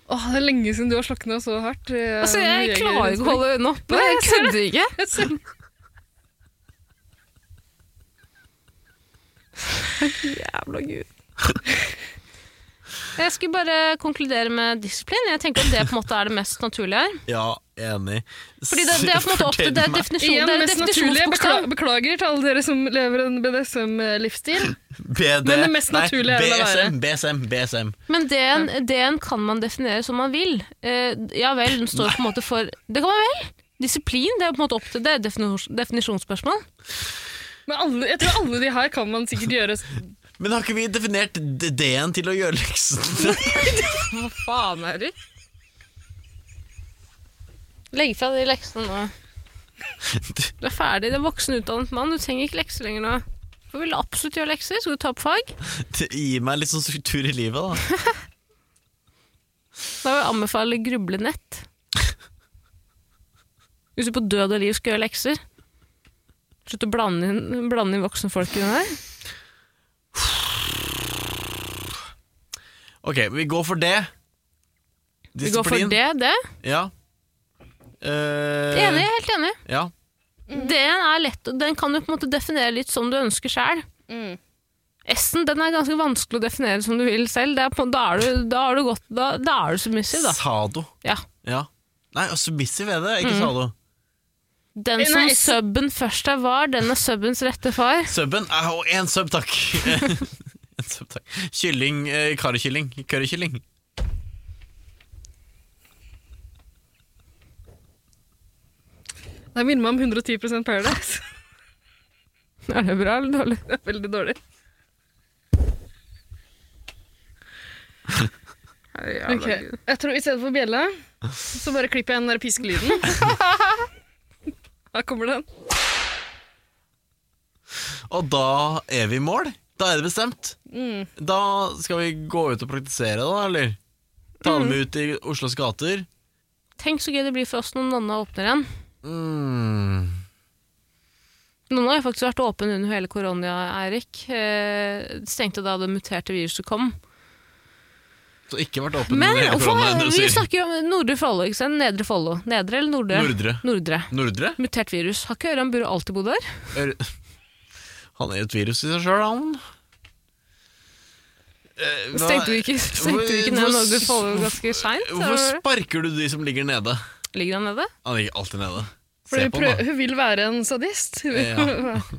Speaker 4: Åh, det er lenge siden du har slokna så hardt. eh,
Speaker 3: Altså,
Speaker 4: med
Speaker 3: jeg
Speaker 4: jeger-
Speaker 3: klarer ikke å holde øynene oppe.
Speaker 4: Nei,
Speaker 3: Jeg
Speaker 4: jeg ser
Speaker 3: kødder ikke.
Speaker 4: Jeg ser-
Speaker 3: Jævla gud. Jeg skulle bare konkludere med disiplin. Jeg tenker at det på en måte er det mest naturlige her.
Speaker 2: Ja, enig.
Speaker 3: Fordi det, det er på en måte opp til det er definisjon,
Speaker 4: Igjen,
Speaker 3: det er
Speaker 4: mest naturlige. Beklager,
Speaker 3: definisjonsbokstav.
Speaker 4: beklager til alle dere som lever en eh, BDSM-livsstil.
Speaker 2: BD,
Speaker 4: Men det mest naturlige er vel å være-
Speaker 2: BSM, BSM, BSM.
Speaker 3: Men D-en D-en kan man definere som man vil. Eh, ja vel, den står på en måte for Det kan man vel? Disiplin, det er på en måte opp til det. er definisjons- Definisjonsspørsmål.
Speaker 4: Men alle, jeg tror alle de her kan man sikkert gjøre.
Speaker 2: Men har ikke vi definert d- D-en til å gjøre leksene?
Speaker 3: Hva faen er det? Legg fra de leksene nå. Du er ferdig, det er voksenutdannet mann. Du trenger ikke lekser lenger nå. Du vil absolutt gjøre lekser. Skal du ta opp fag?
Speaker 2: Gi meg litt sånn struktur i livet, da.
Speaker 3: Da vil jeg anbefale grublenett. Hvis du på død og liv skal gjøre lekser Slutt å blande inn, blande inn voksne folk i det der.
Speaker 2: Ok, vi går for det.
Speaker 3: Vi går for
Speaker 2: Disiplin.
Speaker 3: det, det.
Speaker 2: Ja. Eh,
Speaker 3: Enig, helt enig.
Speaker 2: Ja.
Speaker 3: D-en er lett, og den kan du på en måte definere litt som du ønsker sjøl.
Speaker 4: Mm.
Speaker 3: S-en den er ganske vanskelig å definere som du vil selv. Det er på, da, er du, da er du godt, da, da er du submissiv, da.
Speaker 2: Sado.
Speaker 3: Ja.
Speaker 2: Ja. Nei, og submissive er det, ikke
Speaker 3: Mhm.
Speaker 2: sado.
Speaker 3: Den
Speaker 4: Nei,
Speaker 3: som
Speaker 4: S-
Speaker 3: subben først er var, den er subbens rette far.
Speaker 2: Subben eh, Og én sub, takk! En sub, takk. Kylling. Eh, Karikylling. Currykylling.
Speaker 4: Det minner meg om 110 Paradise.
Speaker 3: Er det bra eller dårlig?
Speaker 4: Det er veldig dårlig. Ok, Jeg tror i stedet for bjella, så bare klipper jeg den der piskelyden. Her kommer den.
Speaker 2: Og da er vi i mål. Da er det bestemt.
Speaker 4: Mm.
Speaker 2: Da skal vi gå ut og praktisere, da, eller? Ta
Speaker 3: Mm.
Speaker 2: dem ut i Oslos gater.
Speaker 3: Tenk så gøy det blir for oss når Nonna åpner igjen.
Speaker 2: Mm.
Speaker 3: Nonna har jo faktisk vært åpen under hele korona, Eirik. Eh, stengte da det muterte viruset kom.
Speaker 2: Så ikke vært åpen
Speaker 3: Men
Speaker 2: under hele
Speaker 3: hvorfor-
Speaker 2: korona, du
Speaker 3: vi
Speaker 2: sier.
Speaker 3: snakker jo om Nordre Follo, ikke sant? Nedre Follo. Nedre eller Nordre?
Speaker 2: Nordre.
Speaker 3: Nordre.
Speaker 2: Nordre?
Speaker 3: Mutert virus. Har ikke Ørjan Burre alltid bodd der?
Speaker 2: Er, han er jo et virus i seg sjøl, han. Eh, hva-
Speaker 3: Stengte vi ikke, stengte vi ikke ned
Speaker 2: Hvor-
Speaker 3: Nordre Follo ganske
Speaker 2: Hvorfor
Speaker 3: seint?
Speaker 2: sparker du de som ligger nede?
Speaker 3: Ligger han nede?
Speaker 2: Han ligger alltid nede.
Speaker 4: Fordi
Speaker 2: Se
Speaker 4: hun,
Speaker 2: på han,
Speaker 4: prøv,
Speaker 2: da.
Speaker 4: hun vil være en sadist.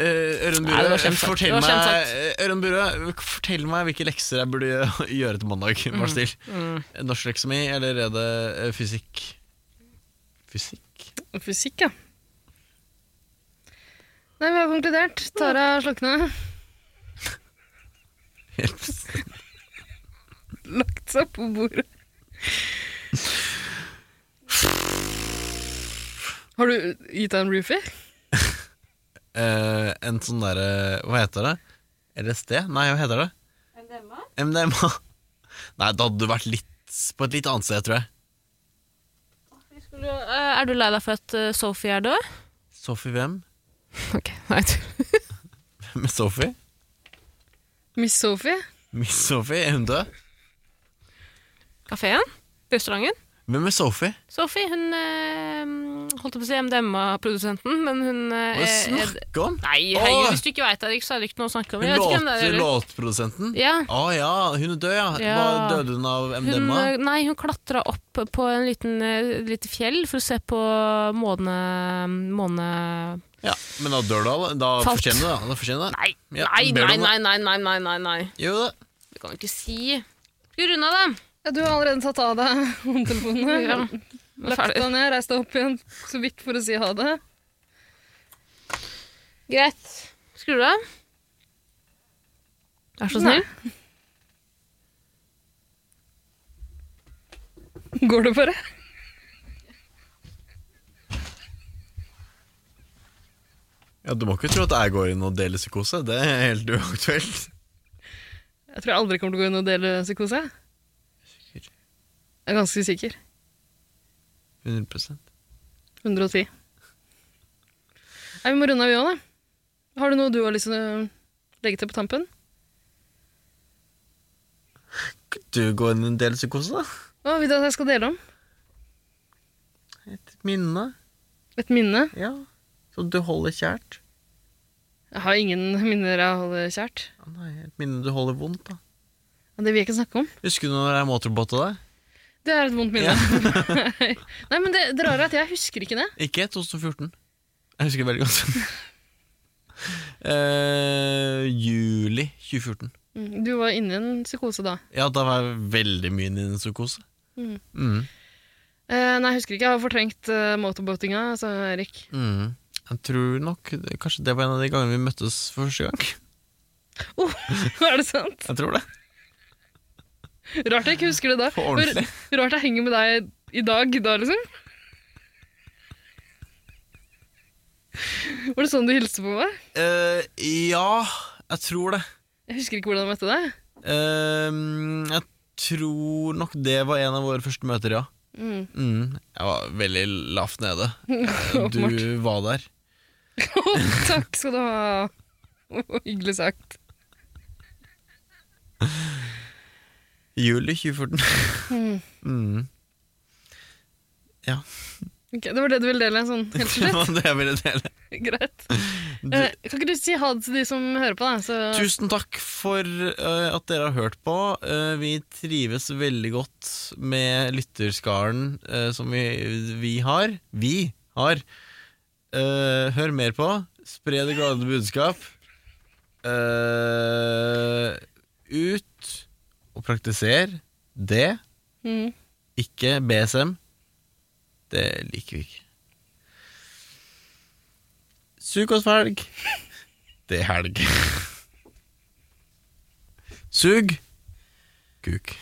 Speaker 2: Ja. Eh, Ørund
Speaker 3: Nei, det var
Speaker 2: Burøe,
Speaker 3: kjempe-
Speaker 2: fortell,
Speaker 3: det var
Speaker 2: meg- eh, Ørund Burøe, fortell meg hvilke lekser jeg burde gjø- gjøre til mandag. Vær
Speaker 3: Mm.
Speaker 2: snill. Norskleksemi, eller er det eh, fysikk? Fysikk?
Speaker 4: Fysikk, ja. Nei, vi har konkludert. Tara Slokne
Speaker 2: Helt
Speaker 4: lagt seg på bordet. Har du gitt deg en roofie?
Speaker 2: eh, en sånn derre Hva heter det? LSD? Nei, hva heter det? MDMA? MDMA. Nei, da hadde du vært litt på et litt annet sted, tror jeg.
Speaker 3: Er du lei deg for at eh, Sophie er død?
Speaker 2: Sophie hvem?
Speaker 3: Ok, nei, jeg tror-
Speaker 2: Med Sophie?
Speaker 4: Miss Sophie?
Speaker 2: Miss Sophie? Er hun død?
Speaker 3: Kafeen? Restauranten?
Speaker 2: Hvem er Sophie?
Speaker 3: Sophie, hun eh, holdt på å si MDMA-produsenten, men hun eh,
Speaker 2: Hva
Speaker 3: er- er-
Speaker 2: snakker du om?
Speaker 3: Nei, herregud,
Speaker 2: Åh!
Speaker 3: hvis du ikke veit det, Erik, så er det ikke noe å snakke om.
Speaker 2: Hun
Speaker 3: Jeg vet ikke hvem det
Speaker 2: låt,
Speaker 3: er, eller?
Speaker 2: låtprodusenten?
Speaker 3: Ja,
Speaker 2: Å ja, hun er død, ja.
Speaker 3: Ja.
Speaker 2: Hva døde hun av
Speaker 3: hun, eh,
Speaker 2: MDMA?
Speaker 3: nei, hun klatra opp på en liten, eh, lite fjell for å se på måne... måne
Speaker 2: Ja, men da dør du av det. Da
Speaker 3: Falt.
Speaker 2: fortjener du det. Da fortjener du det.
Speaker 3: nei,
Speaker 2: Ja,
Speaker 3: nei,
Speaker 2: ber du om
Speaker 3: nei, nei, nei, nei, nei, nei, nei.
Speaker 2: Jo da.
Speaker 3: Du kan jo ikke si Skal vi runde av, da?
Speaker 4: Ja, du har allerede tatt av deg håndtelefonene.
Speaker 3: Ja, nå er
Speaker 4: Lagt
Speaker 3: ferdig.
Speaker 4: deg ned, reist deg opp igjen så vidt for å si ha det.
Speaker 3: Greit. Skrur du av? Vær så
Speaker 4: Nei.
Speaker 3: snill.
Speaker 4: Går det bare?
Speaker 2: Ja, du må ikke tro at jeg går inn og deler psykose. Det er helt uaktuelt.
Speaker 4: Jeg tror jeg aldri kommer til å gå inn og dele psykose.
Speaker 2: Sikker.
Speaker 4: Jeg er ganske sikker.
Speaker 2: 100
Speaker 4: 110. Nei, vi må runde av, vi òg, da. Har du noe du har lyst til å legge til på tampen?
Speaker 2: Kan du gå inn og dele psykose, da?
Speaker 4: Hva vil du at jeg skal dele om?
Speaker 2: Et minne?
Speaker 4: Et minne?
Speaker 2: Ja. Som du holder kjært?
Speaker 4: Jeg har ingen minner jeg holder kjært.
Speaker 2: Å nei, et minne du holder vondt, da.
Speaker 4: Men Det vil jeg ikke snakke om.
Speaker 2: Husker du når jeg motorbotta deg?
Speaker 4: Det er et vondt minne. Nei, men det, det rare er at jeg husker ikke det.
Speaker 2: Ikke 2014. Jeg husker veldig godt. Eh, juli 2014.
Speaker 4: Mm, Du var inne i en psykose da.
Speaker 2: Ja, da var jeg veldig mye inne i en psykose.
Speaker 4: Mm.
Speaker 2: Mm.
Speaker 4: Eh, nei, jeg husker ikke. Jeg har fortrengt eh, motorboatinga, sa Erik.
Speaker 2: Mm. Jeg tror nok det- Kanskje det var en av de gangene vi møttes for første gang.
Speaker 4: Oh, er det sant?
Speaker 2: Jeg tror det.
Speaker 4: Rart jeg ikke husker det da.
Speaker 2: På ordentlig.
Speaker 4: For Rart jeg henger med deg i dag, da, liksom. Var det sånn du hilste på meg?
Speaker 2: Eh, ja, jeg tror det.
Speaker 4: Jeg husker ikke hvordan jeg møtte deg.
Speaker 2: Eh, jeg tror nok det var en av våre første møter, ja.
Speaker 4: Mm.
Speaker 2: Mm, jeg var veldig lavt nede. Du
Speaker 4: Åpenbart.
Speaker 2: var der.
Speaker 4: Takk skal du ha. Hyggelig sagt.
Speaker 2: Juli 2014. Mm. Ja,
Speaker 4: Ok, det var det du ville dele? sånn helt
Speaker 2: det
Speaker 4: slett?
Speaker 2: var det jeg ville dele.
Speaker 4: Greit. Eh, kan ikke du si ha det til de som hører på? Da? Så,
Speaker 2: Tusen takk for eh, at dere har hørt på. Eh, vi trives veldig godt med lytterskaren eh, som vi, vi har. Vi har. Eh, hør mer på. Spre det glade budskap. Eh, ut og praktiser det.
Speaker 4: Mm.
Speaker 2: Ikke BSM. Det liker vi ikke. Sug oss felg. Det er helg. Sug kuk.